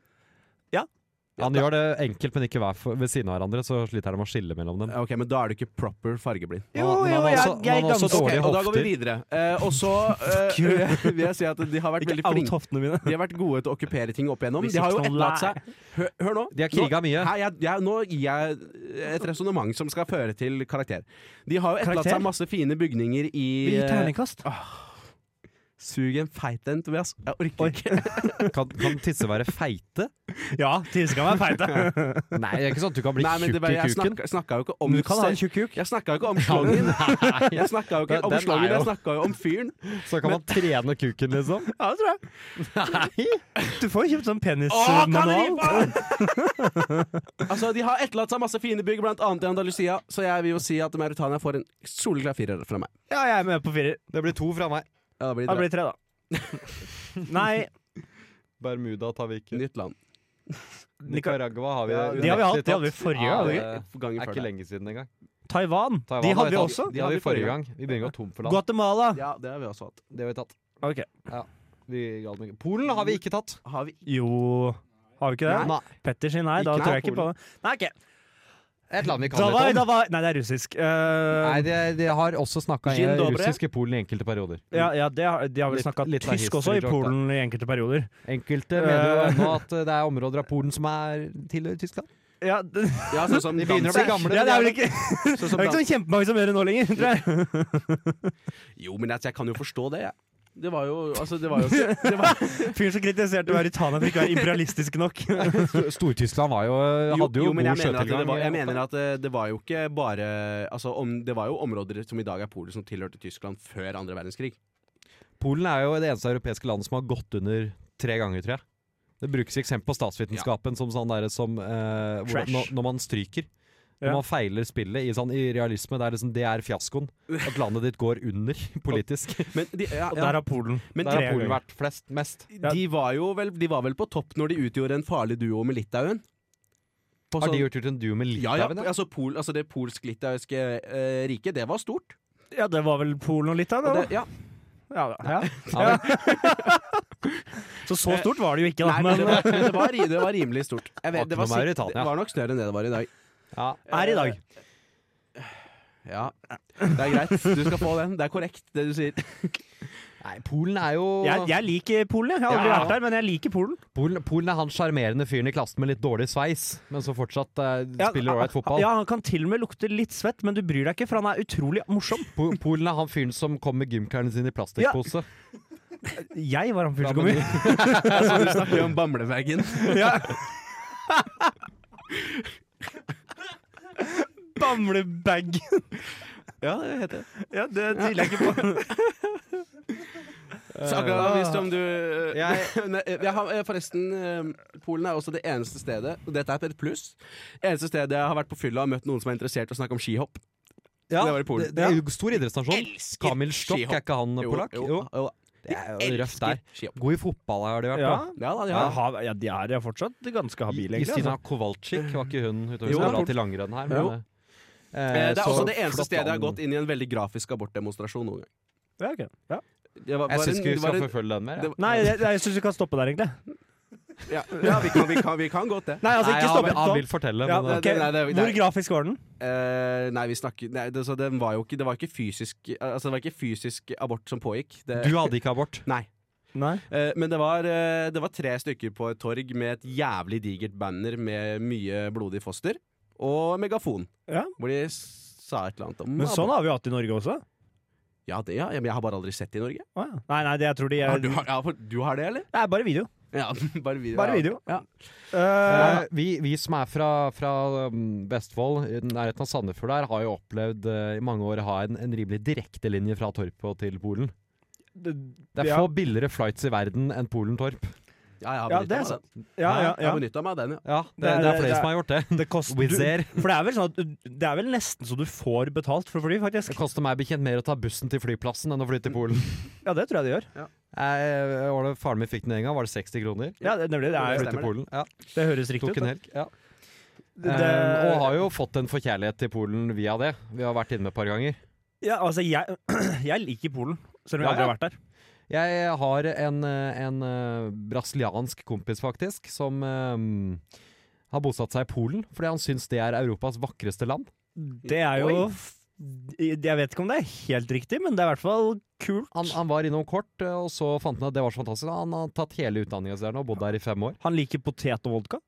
G: Han gjør det enkelt, men ikke hver for, ved siden av hverandre, så sliter han med å skille mellom dem.
E: Ok, men da er du ikke proper fargeblind.
F: Jo,
G: Han- men han
F: jo,
G: er
F: jeg-
G: også-
F: jeg
G: han er også
F: danser.
G: dårlig i
E: Ok, og da går vi
G: hofter.
E: videre. Eh, og så eh, vil jeg si at de har vært veldig
F: Ikke out
E: flinke.
F: hoftene mine.
E: De har vært gode til å okkupere ting opp igjennom.
F: Hvis
E: De har jo
F: ikke noen
E: etterlatt seg Hør, hør nå.
G: De har kriga mye.
E: Nå, Hei, jeg, jeg, nå gir jeg et resonnement som skal føre til karakter. De har jo etterlatt
F: Karakter?
E: seg masse fine bygninger i
F: Vi gir
E: eh,
F: terningkast.
E: Sug en feit en, Tobias. Jeg orker
F: Oi.
E: ikke.
G: Kan, kan tisser være feite?
F: Ja, tisse kan være feite.
G: Nei, det er ikke sånn at du kan bli
E: Nei, men
G: tjukk
E: det
G: i
E: var, jeg
G: kuken.
E: snakka, snakka jo ikke om
F: Du kan ha en
E: se-
F: tjukk kuk.
E: Jeg snakka jo ikke om slangen. Jeg snakka jo ikke
G: Den-
E: om
G: den er
E: slangen, jeg
G: jo-
E: snakka jo om fyren.
G: Så kan man trene kuken, liksom.
F: Ja, det tror jeg. Du får jo kjøpt sånn
E: Åh, kan det
F: penismanual.
E: Altså, De har etterlatt seg masse fine bygg, blant annet i Andalusia, så jeg vil jo si at Mauritania får en soleklar firer fra meg.
F: Ja, jeg er med på firer.
G: Det blir to fra meg.
E: Ja, Da blir
F: Da
E: det
F: blir det tre, da. Nei,
G: Bermuda tar vi
E: bra. nytt land.
G: Nicaragua har vi.
F: de har vi hatt. De hadde vi forrige gang.
G: Ja,
F: hadde vi
G: det
F: ikke?
E: Gangen
G: er
E: før
G: ikke
E: det.
G: lenge siden engang.
F: Taiwan.
G: Taiwan
F: De
G: har
F: hadde vi
G: tatt.
F: også.
G: De hadde vi forrige gang. Vi begynner å gå tom for land.
F: Guatemala.
E: Ja, det har vi også hatt.
G: Det har vi tatt.
F: Ok.
G: Vi gadd ikke. Polen har vi ikke tatt.
E: Har vi
F: Jo Har vi ikke det?
G: Nei.
F: Petter sier nei, da
E: Ikke
F: tror jeg ikke på
E: Polen.
F: Nei, ok.
G: Et land vi
F: Da
G: kan
F: var,
G: litt
F: da
G: om.
F: var, nei, det er russisk. Eh,
G: Nei, de, de har også snakka
E: Um, Gin Dobre.
G: russisk i Polen i enkelte perioder.
F: ja, ja, det har, de har vel
G: Litt-
F: snakka
G: litt av
F: tysk også i
G: history joke,
F: Polen i enkelte perioder.
G: Enkelte mener jo ennå Eh, at det er områder av Polen som er tilhører Tyskland.
F: Ja, det,
E: Ja, sånn som
G: De begynner å bli
E: Danzig.
G: gamle.
F: ja, det er vel
G: men
F: ikke,
E: Sånn
F: det
E: som
F: er ikke
E: Dan-
F: sånn kjempemange som gjør det nå lenger, tror jeg.
G: sånn-
E: Jo, men jeg, jeg kan jo forstå det, jeg. Det var jo Altså, det var jo ikke det var,
F: Fyren som kritiserte Mauritania for ikke å være imperialistisk nok.
G: Stor- Stor-Tyskland var jo, eh,
E: jo,
G: hadde jo,
E: men
G: god
E: jeg mener, at det
G: sjøtilgang.
E: var, jeg mener at eh, det var jo ikke bare Altså, om, det var jo områder som i dag er Polen, som tilhørte Tyskland før andre verdenskrig.
G: Polen er jo det eneste europeiske landet som har gått under tre ganger, tror jeg. Det brukes eksempel på statsvitenskapen som sånn derre som eh, hvordan,
F: Trash.
G: når, når man stryker. Når
F: Ja.
G: man feiler spillet i, sånn, i realisme. Det er, liksom, det er fiaskoen. At landet ditt går under politisk.
E: Men de, ja,
F: Og
E: ja.
F: der har Polen
E: Men
G: Der
F: tre
G: har Polen
F: ganger.
G: vært flest, mest.
F: Ja.
E: De var jo vel, de var vel på topp når de utgjorde en farlig duo med Litauen? På
G: Har
E: sånn-
G: de gjort ut en duo med
E: ja, ja,
G: Litauen? ja?
E: altså, Pol, altså det polsk-litauiske eh, riket, det var stort.
F: Ja, det var vel Polen og Litauen,
E: Og
F: da?
E: det, ja.
F: Ja, da. ja.
G: Ja,
F: Så så stort var det jo ikke, da.
E: Nei, men det var, det var, ri- det var rimelig stort. Jeg vet, det,
G: Akkurat med
E: var sikk-
G: Mauritania.
E: det var nok større enn det det var i dag.
G: ja.
F: eh, er i dag.
E: Ja, Det er greit. Du skal få den. Det er korrekt, det du sier.
G: Nei, Polen er jo
F: Jeg, jeg liker Polen, jeg. Jeg har aldri
G: Ja.
F: vært der, men jeg liker Polen.
G: Polen, Polen er han sjarmerende fyren i klassen med litt dårlig sveis, men som fortsatt eh,
F: Ja,
G: spiller ålreit fotball.
F: Ja, han kan til og med lukte litt svett, men du bryr deg ikke, for han er utrolig morsom.
G: Po Polen er han fyren som kom med gymklærne sine i plastikkpose.
F: Jeg var han
G: Ja,
F: første som kom
G: men-
F: inn.
E: Altså, du snakker jo om Bambleveggen.
F: Ja. Bamlebag.
E: Ja, det heter det.
F: Ja, det tviler jeg ikke på.
E: Snakka visst om du eh,
G: Jeg-
E: Nei, jeg har, eh, Forresten, eh, Polen er også det eneste stedet, og dette er et pluss, eneste stedet jeg har vært på fylla og møtt noen som er interessert i å snakke om skihopp.
G: Ja,
E: Det var i Polen.
G: Det, det er jo stor idrettsnasjon. Kamil Stokk,
E: skihopp.
G: er ikke han
E: Jo,
G: polakk?
E: jo,
G: Jo.
E: jo.
G: Det er jo røft der.
E: Skihopp.
G: God i fotball har de vært,
F: Ja.
G: da.
E: Ja da, de
F: Ja,
E: har
F: ha- ja, de er jo fortsatt ganske habile,
G: Justina
F: egentlig. altså.
G: Kowalczyk var ikke hun utover som
E: Jo, det er
G: bra
E: Polen.
G: til langrenn her. Men,
E: Jo.
G: eh,
E: Eh, Det
G: så
E: er også det eneste
G: flott
E: stedet jeg har
G: land.
E: gått inn i en veldig grafisk abortdemonstrasjon noen gang.
F: Altså. Ja, ok. ja.
E: Det var- var
G: Jeg syns
E: en-
G: ikke vi
E: var
G: skal
E: en-
G: forfølge den mer.
E: det
G: jeg.
E: var-
F: Nei, jeg, jeg syns vi kan stoppe der, egentlig.
E: Ja, ja vi, kan, vi, kan, vi kan godt det.
F: Nei, altså,
G: Nei,
F: ikke
G: han,
F: stoppe.
G: han vil fortelle,
F: Ja,
G: men
E: det-
F: ok.
E: det- nei, det-
F: Hvor
E: nei.
F: grafisk var den?
E: Eh, nei, vi snakker nei, det, så den var jo ikke, det var ikke fysisk Altså det var ikke fysisk abort som pågikk. Det,
G: eh, du hadde ikke abort.
E: Nei.
F: Nei.
E: Eh, Men det var, eh, det var tre stykker på et torg med et jævlig digert banner med mye blodig foster og megafon.
F: Ja.
E: Hvor de s- sa et eller annet om
F: Men sånn har vi jo hatt i Norge også.
E: ja, det, ja, ja, men jeg har bare aldri sett det i Norge.
F: Å, ja. Nei, nei, det jeg tror de
E: Har
F: er
E: du, har, ja, for, du har det, eller?
F: Det er bare video.
E: Ja, bare video.
F: Bare
E: ja.
F: video.
E: Ja.
G: Eh, vi, vi som er fra, fra um, Vestfold, i nærheten av Sandefjord der, har jo opplevd eh, i mange år å ha en, en rimelig direktelinje fra Torp og til Polen. Det er
F: Ja.
G: få billigere flights i verden enn Polen-Torp.
E: Ja, jeg har
F: Ja,
E: benyttet
F: det er
E: meg av
F: sant.
E: den.
F: ja, ja,
E: Jeg har
F: ja.
E: benyttet meg av den, ja.
G: Ja, det,
F: Det
G: det,
F: er-
G: er flere
F: det er-
G: som har gjort det.
F: Det koster
G: Wizz Air.
F: For det er vel sånn at du- Det er vel nesten så du får betalt for å fly,
G: Det
F: faktisk.
G: koster meg bekjent mer å ta bussen til flyplassen enn å flytte til Polen.
F: Ja, det tror jeg det gjør.
G: Jeg, var det Faren min fikk den en gang, var det 60 kroner?
F: Ja, det, nemlig, det,
G: Jeg
F: er,
G: flyttet til Polen. Ja,
F: det høres riktig
G: tok
F: ut.
G: en helg.
F: Det.
G: Ja. Eh, og
F: Det-
G: har jo fått en forkjærlighet til Polen via det. Vi har vært inne et par ganger.
F: Ja, altså, jeg, jeg liker Polen, selv
G: Ja,
F: om jeg aldri har
G: ja.
F: vært der.
G: Jeg har en, eh, en eh, brasiliansk kompis, faktisk, som eh, har bosatt seg i Polen fordi han syns det er Europas vakreste land.
F: Det er jo
E: Oi.
F: f- Jeg vet ikke om det er helt riktig, men det er i hvert fall kult.
G: Han, han var innom kort, eh, og så fant han at det var så fantastisk. Han har tatt hele utdanninga si der nå, bodd der i fem år.
F: Han liker potet og vodka.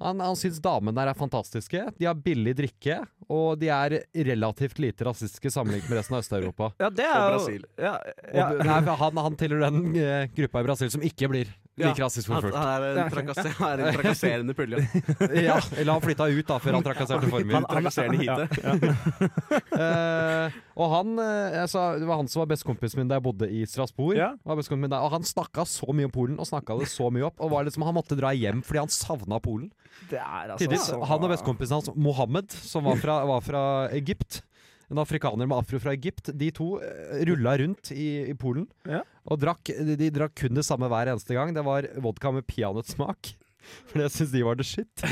G: Han, han syns damene der er fantastiske. De har billig drikke, og de er relativt lite rasistiske sammenlignet med resten av Øst-Europa.
F: Ja, det er
E: Og
F: jo-
E: Brasil.
F: Ja,
G: Og
F: ja.
G: du- Nei, for han, han tilhører den eh, gruppa i Brasil som ikke blir like rasistisk
E: Han,
G: forfulgt.
E: han er en, trakasse, han er en trakasserende pulje.
G: Ja, eller han flytta ut da, før han trakasserte
E: Han
G: formen.
E: trakasserende hite.
G: Eh, og han eh, altså, Det var han som var bestekompisen min da jeg bodde i Strasbourg.
F: Ja.
G: Var bestekompisen min der, og han snakka så mye om Polen og snakka det så mye opp. Og var liksom, Han måtte dra hjem fordi han savna Polen.
F: det er altså
G: Tidvis,
F: så-
G: Han og bestekompisen hans, Mohammed, som var fra, var fra Egypt En afrikaner med afro fra Egypt. De to uh, rulla rundt i, i Polen
F: Ja.
G: og drakk de, de drakk kun det samme hver eneste gang. Det var vodka med peanøttsmak. For det syns de var det shit.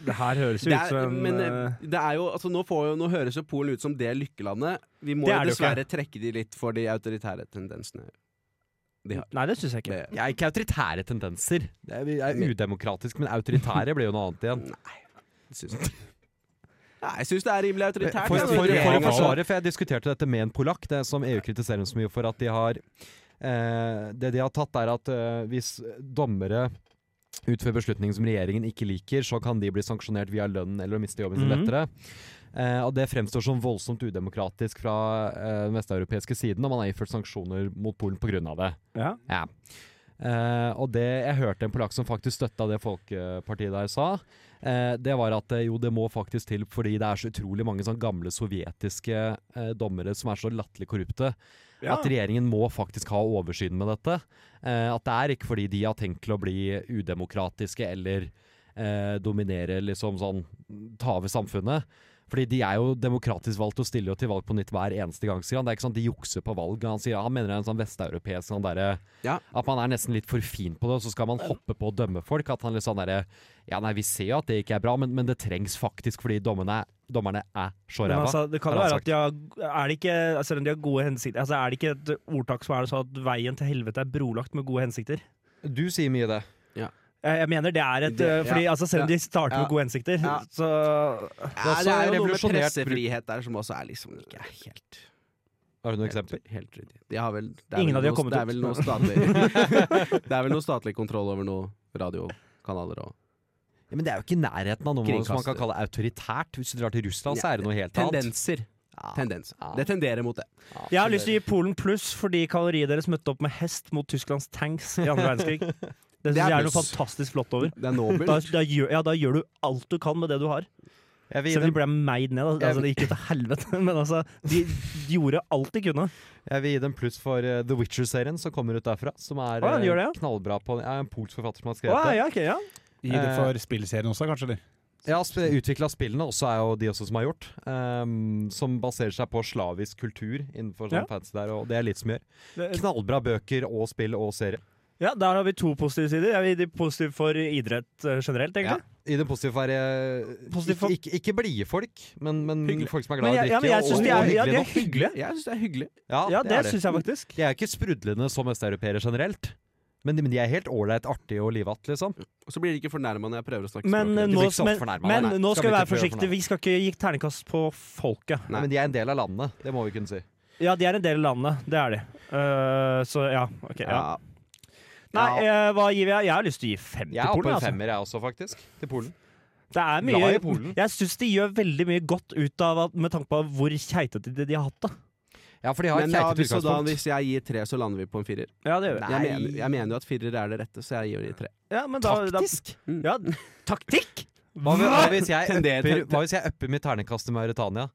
F: Det her høres jo
E: Det
F: ut
E: er,
F: som
E: men
F: eh,
E: eh, det er jo, altså, nå, får jo, nå høres jo Polen ut som det lykkelandet. Vi må
F: Det
E: jo
F: er det jo ikke.
E: dessverre trekke de litt for de autoritære tendensene.
F: Nei, det syns jeg ikke.
E: Det,
G: Jeg er ikke autoritære tendenser. Det er, jeg er udemokratisk, men autoritære blir jo noe annet igjen.
E: syns jeg. Nei, jeg syns det er rimelig
G: For,
E: autoritært.
G: for,
E: jeg.
G: for, for å
E: Regjeringen-
G: forsvare, for jeg diskuterte dette med en polakk, det som EU kritiserer dem så mye for at de har eh, Det de har tatt, er at eh, hvis dommere utfører beslutninger som regjeringen ikke liker, så kan de bli sanksjonert via lønn eller å miste jobben sin
F: Mhm.
G: lettere. Eh, og det fremstår som voldsomt udemokratisk fra eh, den vesteuropeiske siden, og man har innført sanksjoner mot Polen pga. det.
F: Ja.
G: Ja. Eh, og det jeg hørte en polakk som faktisk støtta det folkepartiet der sa, eh, det var at eh, jo, det må faktisk til fordi det er så utrolig mange sånn gamle sovjetiske eh, dommere som er så latterlig korrupte
F: Ja.
G: at regjeringen må faktisk ha oversyn med dette. Eh, at det er ikke fordi de har tenkt til å bli udemokratiske eller eh, dominere, liksom sånn ta over samfunnet. Fordi de er jo demokratisk valgt og stiller jo til valg på nytt hver eneste gang, sier han. Det er ikke sånn de jukser på valg. Han sier han mener det er en sånn vesteuropeisk sånn derre
E: Ja.
G: At man er nesten litt for fin på det, og så skal man hoppe på å dømme folk. At han litt sånn derre Ja, nei, vi ser jo at det ikke er bra, men, men det trengs faktisk fordi dommerne, dommerne er så
F: Men
G: ræva.
F: altså, det kan jo
G: har han
F: være at de har, er det ikke, altså, selv om de har gode hensikter altså, Er det ikke et ordtak som er sånn at veien til helvete er brolagt med gode hensikter?
G: Du sier mye det.
F: Jeg, jeg mener det er et
E: Det-
F: øh, Fordi
E: ja.
F: altså, selv om
E: Ja.
F: de starter
E: Ja.
F: med gode hensikter,
E: Ja.
F: så
E: ja, det er jo noe med
G: revolusjonert bruk-
E: pressefrihet der som også er liksom ikke er helt
G: Har du noe
E: Helt,
G: eksempel?
E: helt ryddig. De har vel, det er
F: Ingen
E: vel
F: av de har
E: noe-
F: kommet
E: det
F: ut.
E: er vel noe statlig Det er vel noe statlig kontroll over noen radiokanaler og
G: Ja, men det er jo ikke i nærheten av noe som man
E: Kringkaster.
G: kan kalle autoritært. Hvis du drar til Russland, så er det noe helt annet.
E: Tendenser.
G: Ja.
E: Tendenser.
G: Ja.
E: Det tenderer mot det.
F: Jeg har lyst til å gi Polen pluss fordi kaloriet deres møtte opp med hest mot Tysklands tanks i andre verdenskrig. Det
E: Det
F: syns
E: er
F: jeg er noe
E: pluss.
F: fantastisk flott over.
E: Det er
F: Da,
E: nobelt.
F: da, gjør, ja, da gjør du alt du kan med det du har.
G: Jeg vil gi
F: Selv om de
G: dem,
F: ble meid ned. da. Altså, det gikk jo til helvete, men altså De gjorde alt de kunne.
G: jeg vil gi dem pluss for eh, The Witcher-serien som kommer ut derfra. Som er
F: Å, han
G: eh,
F: gjør det,
G: knallbra på ja, En polsk forfatter som har
F: Å,
G: skrevet det.
F: ja, ok, ja.
H: Gi det for spillserien også, kanskje? eller?
G: Ja, Utvikla spillene, også er jo de også som har gjort. ehm, som baserer seg på slavisk kultur innenfor sånn
F: Ja. Eh,
G: fancy der, og det er litt som gjør.
F: Det-
G: Knallbra bøker og spill og serie.
F: Ja, Der har vi to positive sider. Er vi positive for idrett eh, generelt,
G: Ja.
F: egentlig?
G: I den positive er eh,
F: Positiv for-
G: ikke, ikke, ikke blide folk, men, men folk som er
F: Men
G: glad i å
F: jeg- ja,
G: drikke.
F: men jeg synes
G: og,
F: de
G: og
F: er- ja,
G: hyggelige
F: de er
G: nok.
F: hyggelig.
E: Jeg syns det er hyggelig.
G: Ja,
F: Ja, det,
G: er
F: syns jeg faktisk.
G: De er jo ikke sprudlende som østeuropeere generelt. Men de, men de er helt åleit artige og livatt, liksom.
E: Og så blir de ikke fornærma når jeg prøver å snakke
F: Men, eh,
E: språket.
G: blir
F: nå,
G: ikke så
F: men,
G: fornærmet,
F: men
G: nei.
F: nå
G: Skal vi
F: skal vi være
G: ikke prøve å
F: forsiktige. Vi skal ikke gi terningkast på folket.
E: Nei.
G: Men de er en del av landet, det må vi kunne si.
F: Ja, de er en del av landet. Det er de. Eh, så ja, OK. Ja.
E: Ja.
F: Nei, eh, hva gir jeg? Jeg har lyst til å gi fem
G: Jeg er
F: til
G: oppe
F: Polen.
G: på en
F: Altså.
G: femmer, jeg også, faktisk. Til Polen.
F: Det er
G: Glad
F: mye
G: i Polen.
F: Jeg syns de gjør veldig mye godt ut av at, med tanke på hvor keitete de, de har hatt det.
G: Ja, for de har et
E: Men ja,
G: keitete
E: eh, hvis, så da,
G: utgangspunkt.
E: hvis jeg gir tre, så lander vi på en firer.
F: Ja, det gjør
E: Jeg mener, jeg mener jo at firer er det rette, så jeg gir de tre.
F: Ja, men da,
G: Taktisk?
F: Da, ja, taktikk?
G: Hva, hvis- hva hvis jeg
E: Tender-
G: upper,
E: ten-
G: hva hvis jeg upper mitt ternekast til Mauritania?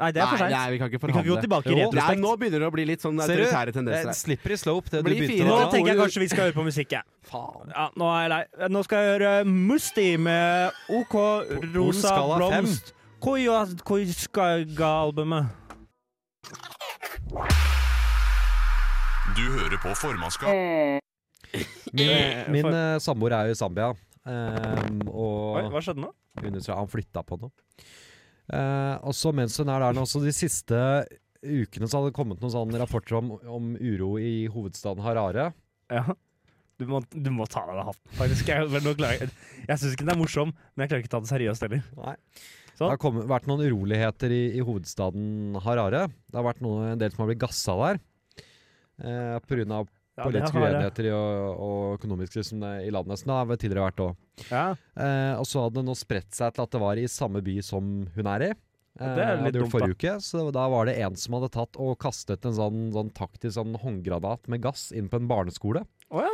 F: Nei, det er for
E: Nei,
F: seint.
E: nei, vi kan
F: Vi
E: ikke
F: kan ikke gå
E: forhandle.
F: tilbake i
G: Jo,
E: Nei,
F: retrospekt.
E: nå begynner det å bli litt sånn
G: Ser du?
E: autoritære
G: Det
E: tendenser her.
G: slipper i slope, det du
E: Blir
G: begynte
E: fire,
F: Nå
E: da.
G: med.
F: tenker jeg kanskje vi skal høre på musikk, jeg.
G: Faen.
F: Ja, nå er jeg lei. Nå skal jeg høre Musti med OK Rosa
G: skala
F: Blomst. Kojaskaga-albumet.
A: Du hører på formannskap.
G: Min, min eh, samboer er jo i Zambia, ehm,
F: Oi,
G: og
F: hva skjedde nå?
G: undersøker, han flytta på noe. Eh, og så mens hun er der nå, så de siste ukene så hadde det kommet noen sånne rapporter om, om uro i hovedstaden Harare.
F: Ja. Du må, du må ta deg av hatten, faktisk. Jeg, men nå klarer jeg jeg syns ikke den er morsom, men jeg klarer ikke å ta den seriøst heller.
G: Nei. Det
F: Sånn.
G: har kommet, vært noen uroligheter i, i hovedstaden Harare. Det har vært noe, en del som har blitt gassa der. Eh, Pga.
F: Ja, det
G: politiske
F: har jeg.
G: uenigheter i, og, og økonomiske som det, i landet. Som det har vel tidligere vært òg.
F: Ja.
G: Eh, og så hadde det nå spredt seg til at det var i samme by som hun er i. Eh,
F: det er litt
G: hadde gjort
F: dumt, da.
G: forrige uke, så da var det en som hadde tatt og kastet en sånn, sånn taktisk sånn håndgranat med gass inn på en barneskole.
F: Å ja.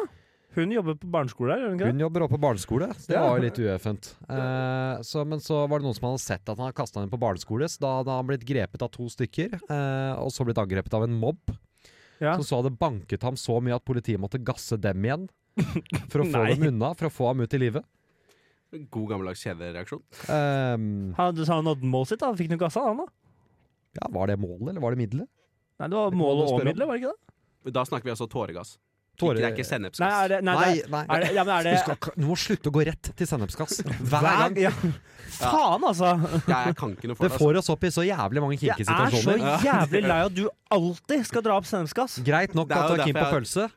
F: Hun jobber på barneskole her, gjør hun ikke det?
G: Hun jobber også på barneskole, så det
F: Ja.
G: var jo litt ueffent. Eh, så, men så var det noen som hadde sett at han hadde kasta henne på barneskole, så da hadde han blitt grepet av to stykker, eh, og så blitt angrepet av en mobb.
F: Ja.
G: Som så hadde banket ham så mye at politiet måtte gasse dem igjen. For å få
F: Nei.
G: dem unna, for å få ham ut i live.
E: God gammeldags kjedereaksjon.
G: Eh,
F: Han, så han nådde målet sitt, da. Fikk han ikke gassa, han da?
G: ja, var det målet, eller var det middelet?
F: Nei, det var
G: Det kan man
F: målet og
G: spørre om.
F: middelet, var det ikke det?
E: Da snakker vi altså tåregass.
G: Tåre-
E: Ikke, det er ikke
F: Nei,
E: sennepsgass.
F: er det, nei,
G: Nei,
F: det,
G: nei.
F: er det, ja, men er det
G: Du, skal, ikke- du må slutte å gå rett til sennepsgass. Hver gang.
F: Ja. Faen, altså!
E: Jeg, jeg kan ikke noe for
G: Det
E: det. Altså.
G: får oss opp i så jævlig mange
F: Jeg er så
G: kinkesituasjoner.
F: jævlig lei av at du alltid skal dra opp sennepsgass.
G: Greit nok
E: Det er
G: at
E: jo
G: du er keen på
E: derfor
G: pølse,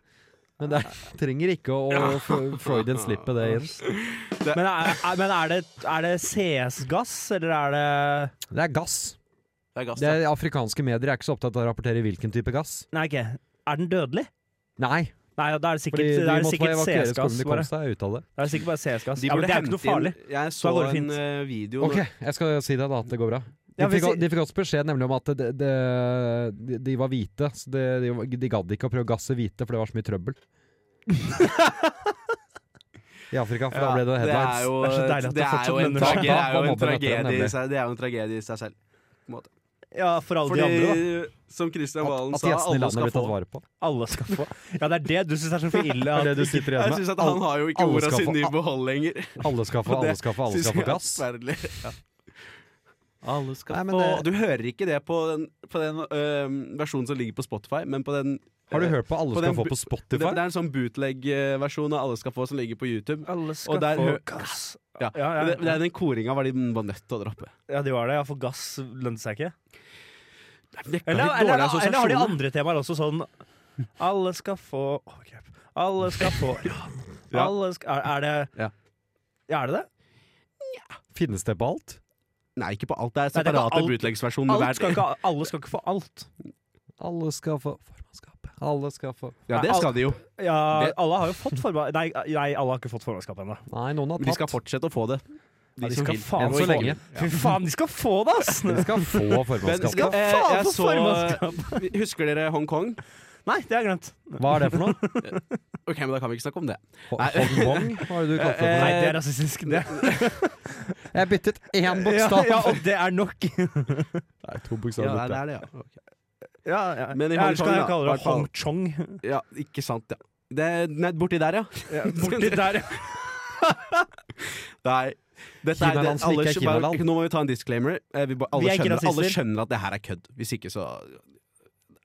G: men det er- trenger ikke å fr- Freudian slippe det inn.
F: Men, er, er, men er det, er det CS-gass, eller er det
G: Det er gass.
E: altså. Det er gass.
G: Det er, afrikanske medier er ikke så opptatt av å rapportere hvilken type gass.
F: Nei, ikke. Er den dødelig?
G: Nei,
F: Nei, ja, da er det
G: fordi
F: sikkert,
G: de
F: da er det
G: måtte
F: sikkert
G: evakuere skolen
F: CS-gass.
G: de kom
F: bare.
G: seg ut av det.
F: Da er det sikkert bare CS-gass.
E: De
F: Ja, men
E: burde
F: det er ikke noe
E: hente inn
F: farlig.
E: Jeg så
F: går det
E: en
F: fint.
E: eh, video nå-
G: Ok, jeg skal si deg da at det går bra. De,
F: Ja, hvis
G: fikk,
F: jeg-
G: de fikk også beskjed nemlig om at det, det, de, de var hvite, så det, de, de gadd ikke å prøve å gasse hvite, for det var så mye trøbbel. I Afrika, for da ble det
E: det er
G: headlines.
E: jo,
F: Det er så deilig at
E: det
F: det
E: er
F: fortsatt
E: jo en
F: lønner
G: seg.
E: trage- det er jo
G: Da- da
E: en
G: mobber etter den,
E: tragedie i
G: nemlig.
E: seg- det er jo en tragedie i seg selv.
F: Ja, for alle
E: Fordi,
F: de andre, da.
E: som Kristian
G: At,
E: Valen
G: at
E: sa,
G: gjestene i
E: alle
G: landet
E: skal
G: blir tatt
E: få.
G: vare på.
F: Alle skal få. Ja, det er det du syns er så for ille.
G: Det
F: At,
G: er det du sitter
E: Jeg
G: igjen
E: syns
G: med.
E: at han har jo ikke
G: alle
E: orda
G: skal få-
E: sine i behold lenger.
G: Alle skal få,
E: Og det
G: alle skal få, alle
E: synes
G: skal få
E: jeg er
G: gass.
E: forferdelig.
G: Nei, men
E: Og
G: det,
E: du hører ikke det på den, på den øhm, versjonen som ligger på Spotify, men på den
G: har du
E: øh,
G: hørt på Alle
E: på
G: skal
E: den
G: få
E: bu-
G: på
E: det, det
G: Spotify?
E: er en sånn bootleg-versjon av Alle skal få som ligger på YouTube.
F: alle skal
E: Og der
F: få
E: hø-
F: gass.
E: Ja.
F: Ja, ja,
E: Det, det er den koringa var de var nødt til å droppe.
F: ja, de var det. Ja, for gass lønte seg ikke.
E: Det er
F: Eller,
E: altså, litt
F: eller,
E: dårlige
F: eller, har de
E: assosiasjoner.
F: andre temaer også sånn Alle skal få overgrep. Alle skal få
E: Ja.
F: alle skal, er, er det
E: Ja.
F: Ja, er det det?
G: Finnes det på alt?
E: Nei, ikke på alt. Det er
F: Nei, det er ikke
E: separate
F: alt.
E: bootlegsversjoner.
F: Alt skal
E: hver-
F: ikke, alle skal ikke få alt.
G: Alle skal få formannskapet. Alle skal få
E: Ja, det
F: Nei,
E: skal de jo.
F: Ja,
E: Det-
F: alle har jo fått forma... Nei, nei, alle har ikke fått formannskap ennå.
G: Nei, noen har
E: Men de skal
G: tatt.
E: fortsette å få det.
F: Ja, de
E: som
F: skal
E: vil.
F: faen
E: Enn
G: Enn
E: så
G: så lenge.
F: Fy faen, de skal få det, ass!
G: De skal få
E: Men
G: formannskapet.
E: skal, eh,
F: Faen,
E: jeg
F: for
E: så,
F: formannskap!
E: husker dere Hong Kong?
F: Nei, det har jeg glemt.
G: Hva er det for noe?
E: Ok, men Da kan vi ikke snakke om det. Nei.
G: Hongkong? Hva er det du kalte det?
E: Eh,
F: Nei, det er rasistisk. Det.
G: Jeg har byttet én
F: Ja,
G: bokstav.
F: ja, og det er nok.
G: Det er to
E: Ja,
G: bokstaver
E: det er det, ja.
F: Ja, ja.
E: Men i
F: Ja, Ellers
E: Hongkong,
F: kan jeg
E: da,
F: kalle det
E: hvert fall.
F: Hong Chong.
E: ja ikke sant, ja. Det, nei, borti der, ja.
F: Ja, Borti der.
E: Nei. Dette er, det,
G: Kinaland som
E: alle,
G: ikke er
E: skjø- bare,
G: Kinaland.
E: nå må vi ta en disclaimer. Eh, Vi, bare- alle,
F: Vi er ikke
E: skjønner, alle
F: rasister.
E: skjønner at det her er kødd. Hvis ikke, så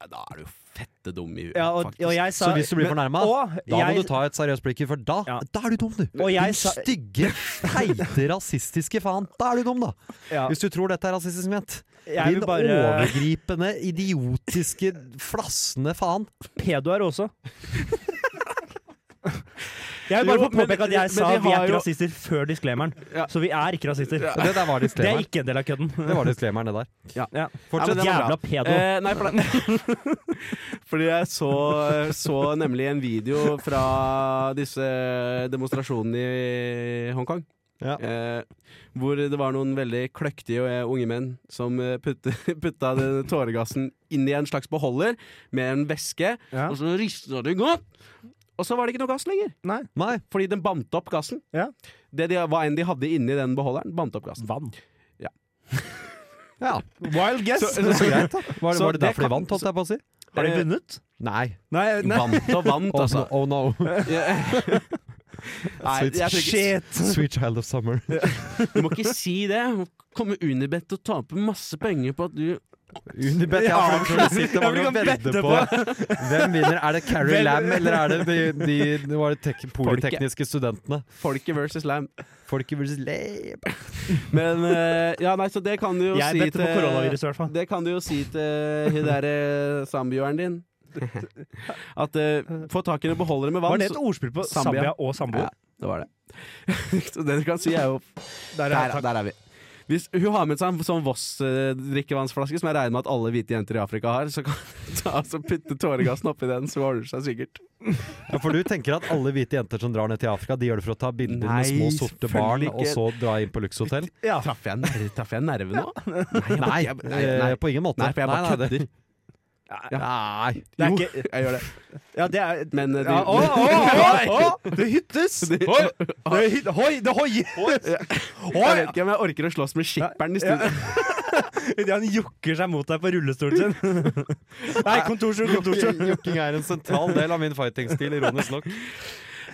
E: Da er du jo fette dum i huet,
F: Ja, og,
E: faktisk.
F: og jeg sa
G: Så hvis du blir fornærma,
F: og
G: da må
F: jeg-
G: du ta et seriøst blikk, for da,
F: Ja.
G: da er du dum, du!
F: Og jeg
G: Din
F: sa-
G: stygge, feite, rasistiske faen. Da er du dum, da!
F: ja,
G: Hvis du tror dette er rasistisk ment.
F: Jeg
G: Din
F: vil bare
G: overgripende, idiotiske, flassende faen.
F: Pedo her også. Jeg vil bare
E: Jo,
F: få påpeke
E: men-
F: at jeg
E: men
F: sa
E: de
F: vi er
E: har
F: ikke
E: jo-
F: rasister før disclaimeren.
E: Ja.
F: Så vi er ikke rasister.
G: Og Det der var
F: Det er
G: disclaimeren.
F: ikke en del av kødden.
G: Det var disclaimeren, det der.
F: Ja.
E: Ja, men
G: Fortsett.
E: det var bra.
F: Jævla pedo.
E: Eh, nei, for det- Fordi jeg så, så nemlig en video fra disse demonstrasjonene i Hongkong.
G: Ja.
E: Eh, hvor det var noen veldig kløktige eh, unge menn som eh, putte, putta den tåregassen inn i en slags beholder med en væske,
F: Ja.
E: og så rista det godt. Og så var det ikke noe gass lenger,
G: Nei.
E: fordi den bandt opp gassen.
F: Ja.
E: Det de, hva enn de hadde inni den beholderen, bandt opp gassen.
F: Vann.
G: Ja.
F: Wild guess.
G: Så, så greit, da. Var,
E: Så
G: var det
E: det
G: derfor de
E: kan-
G: vant, holdt jeg på å si?
F: Har de
E: Eh,
F: vunnet?
G: Nei.
F: Nei, nei.
E: Vant og vant,
G: Oh
E: altså.
G: no. Oh, no.
E: Nei, jeg tror ikke,
F: Shit.
G: Sweet child of summer.
E: du må ikke si det. Du må Komme Unibet til å tape masse penger på at du
G: Unibet, ja, for det var noe sikkert, det var noe å vedde
F: Ja, vi kan vedde
E: sånn
G: på. Hvem vinner? Er det Carrie
F: Vel-
G: Lam, eller er det de, de, det var de tek politekniske studentene?
E: Folket versus Lam.
G: Folket versus Lab.
E: Men eh, Ja, nei, så det kan du jo
F: Jeg
E: si eh,
F: bedte på koronavirus i hvert fall.
E: Det kan du jo si til hun derre samboeren din. At eh, få tak i en beholder med vann.
F: Var det et
E: så-
F: ordspill på
E: Zambia.
F: Zambia og samboer?
E: Ja, det var det. så det du kan si, er jo
F: Der er
E: Der,
F: takk.
E: der er vi. Hvis hun har med seg en sånn Voss-drikkevannsflaske, som jeg regner med at alle hvite jenter i Afrika har, så kan hun ta, altså, putte tåregassen oppi den, så ordner det seg sikkert.
G: Ja, for du tenker at alle hvite jenter som drar ned til Afrika, de gjør det for å ta bilder
E: Nei,
G: med små sorte barn,
E: selvfølgelig
G: og
E: ikke.
G: så dra inn på lukshotell?
F: Ja.
E: Traff jeg, ner- traff jeg en nerve nå?
G: Nei,
E: jeg- nei, nei.
G: eh, på ingen måte.
E: Nei, for jeg bare
G: nei, det-
E: Ja.
G: Nei.
F: Det er
E: Jo,
F: ikke
E: jeg gjør det.
F: Ja, det er
E: Men eh,
F: ja, å,
E: du,
F: å, å, å, Det hyttes!
E: Det-
F: Hoi! Det hy- Hoi! Det hoies!
E: jeg vet ikke om jeg orker å slåss med skipperen i studio.
F: Idet han jukker seg mot deg på rullestolen sin. Nei, kontorstol, kontorstol.
G: Jokking er en sentral del av min fighting-stil, ironisk nok.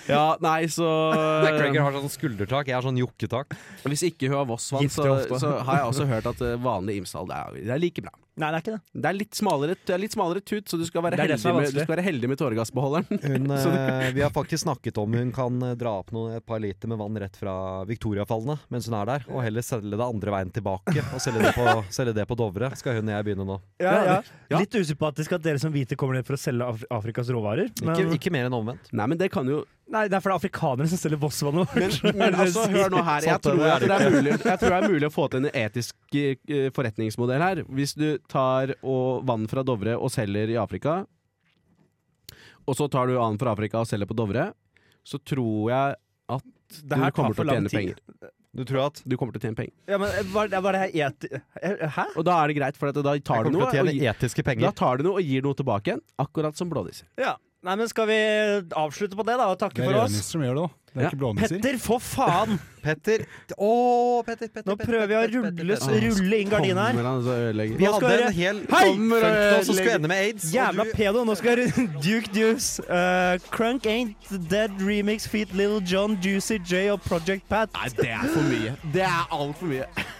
E: Ja, nei, så eh,
G: Cracker har sånn skuldertak, jeg har sånn jokketak.
E: Hvis ikke hun har Voss-vann, så,
F: Gifter ofte.
E: så har jeg også hørt at eh, vanlig Imsdal det, er- det er like bra.
F: Nei, det er ikke det.
E: Det er litt smalere, det er litt smalere tut, så du skal være
F: Det er det
E: heldig
F: som er
E: med, du
F: vanskelig.
E: skal være heldig med tåregassbeholderen.
G: Hun, eh, vi har faktisk snakket om hun kan eh, dra opp noe, et par liter med vann rett fra Victoriafallene mens hun er der, og heller selge det andre veien tilbake. Og selge det på, selge det på Dovre, skal hun og jeg begynne nå.
F: Ja, ja.
E: Ja.
F: Litt usympatisk at dere som hvite kommer ned for å selge Af Afrikas råvarer.
G: Ikke,
F: Men,
G: ikke mer enn omvendt.
E: Nei, men det kan jo
F: Nei, det er fordi afrikanere som selger Vossvannet vårt.
E: Men altså, hør nå her. Jeg
G: Sant, det
E: tror,
G: er
E: at
G: det
E: det er mulig, jeg tror det er mulig å få til en etisk eh, forretningsmodell her. Hvis du tar og vann fra Dovre og selger i Afrika, og så tar du annen fra Afrika og selger på Dovre, så tror jeg at du
F: her tar
E: kommer
F: for
E: til å
F: lang
E: tjene
F: tid.
E: penger.
G: Du tror at
E: Du kommer til å tjene penger.
F: Ja, men var, var det her eti... eh, Hæ?
E: Og da er det greit, for at da
G: jeg
E: tar du
G: kommer
E: noe
G: til å
E: og
G: tjene
E: gir,
G: etiske
E: da
G: penger?
E: tar du noe og gir noe tilbake igjen. Akkurat som blånisser.
F: Ja. Nei, men skal vi avslutte på det, da, og takke
H: Det er
F: for oss?
H: rødnisser som gjør det, da. Det er
E: Ja.
H: ikke blånisser.
F: Petter, for faen!
G: Petter! Å, Petter, Petter,
F: Nå
G: Petter,
F: prøver jeg å
G: Petter,
F: rulle,
G: Petter, Petter.
F: rulle inn gardina her.
E: Kommer han, så altså, ødelegger.
G: Vi
F: Nå skal
G: hadde
F: dere-
G: en hel
F: Hei!
G: fun funktråd som skulle ende med aids. og
F: Jævla
G: du-
F: pedo, nå skal jeg runde Duke Deuce. eh, Crunk Ain't the Dead Remix Feet Little John Juicy J og Project Pat.
E: Nei, det er for mye. Det er altfor mye.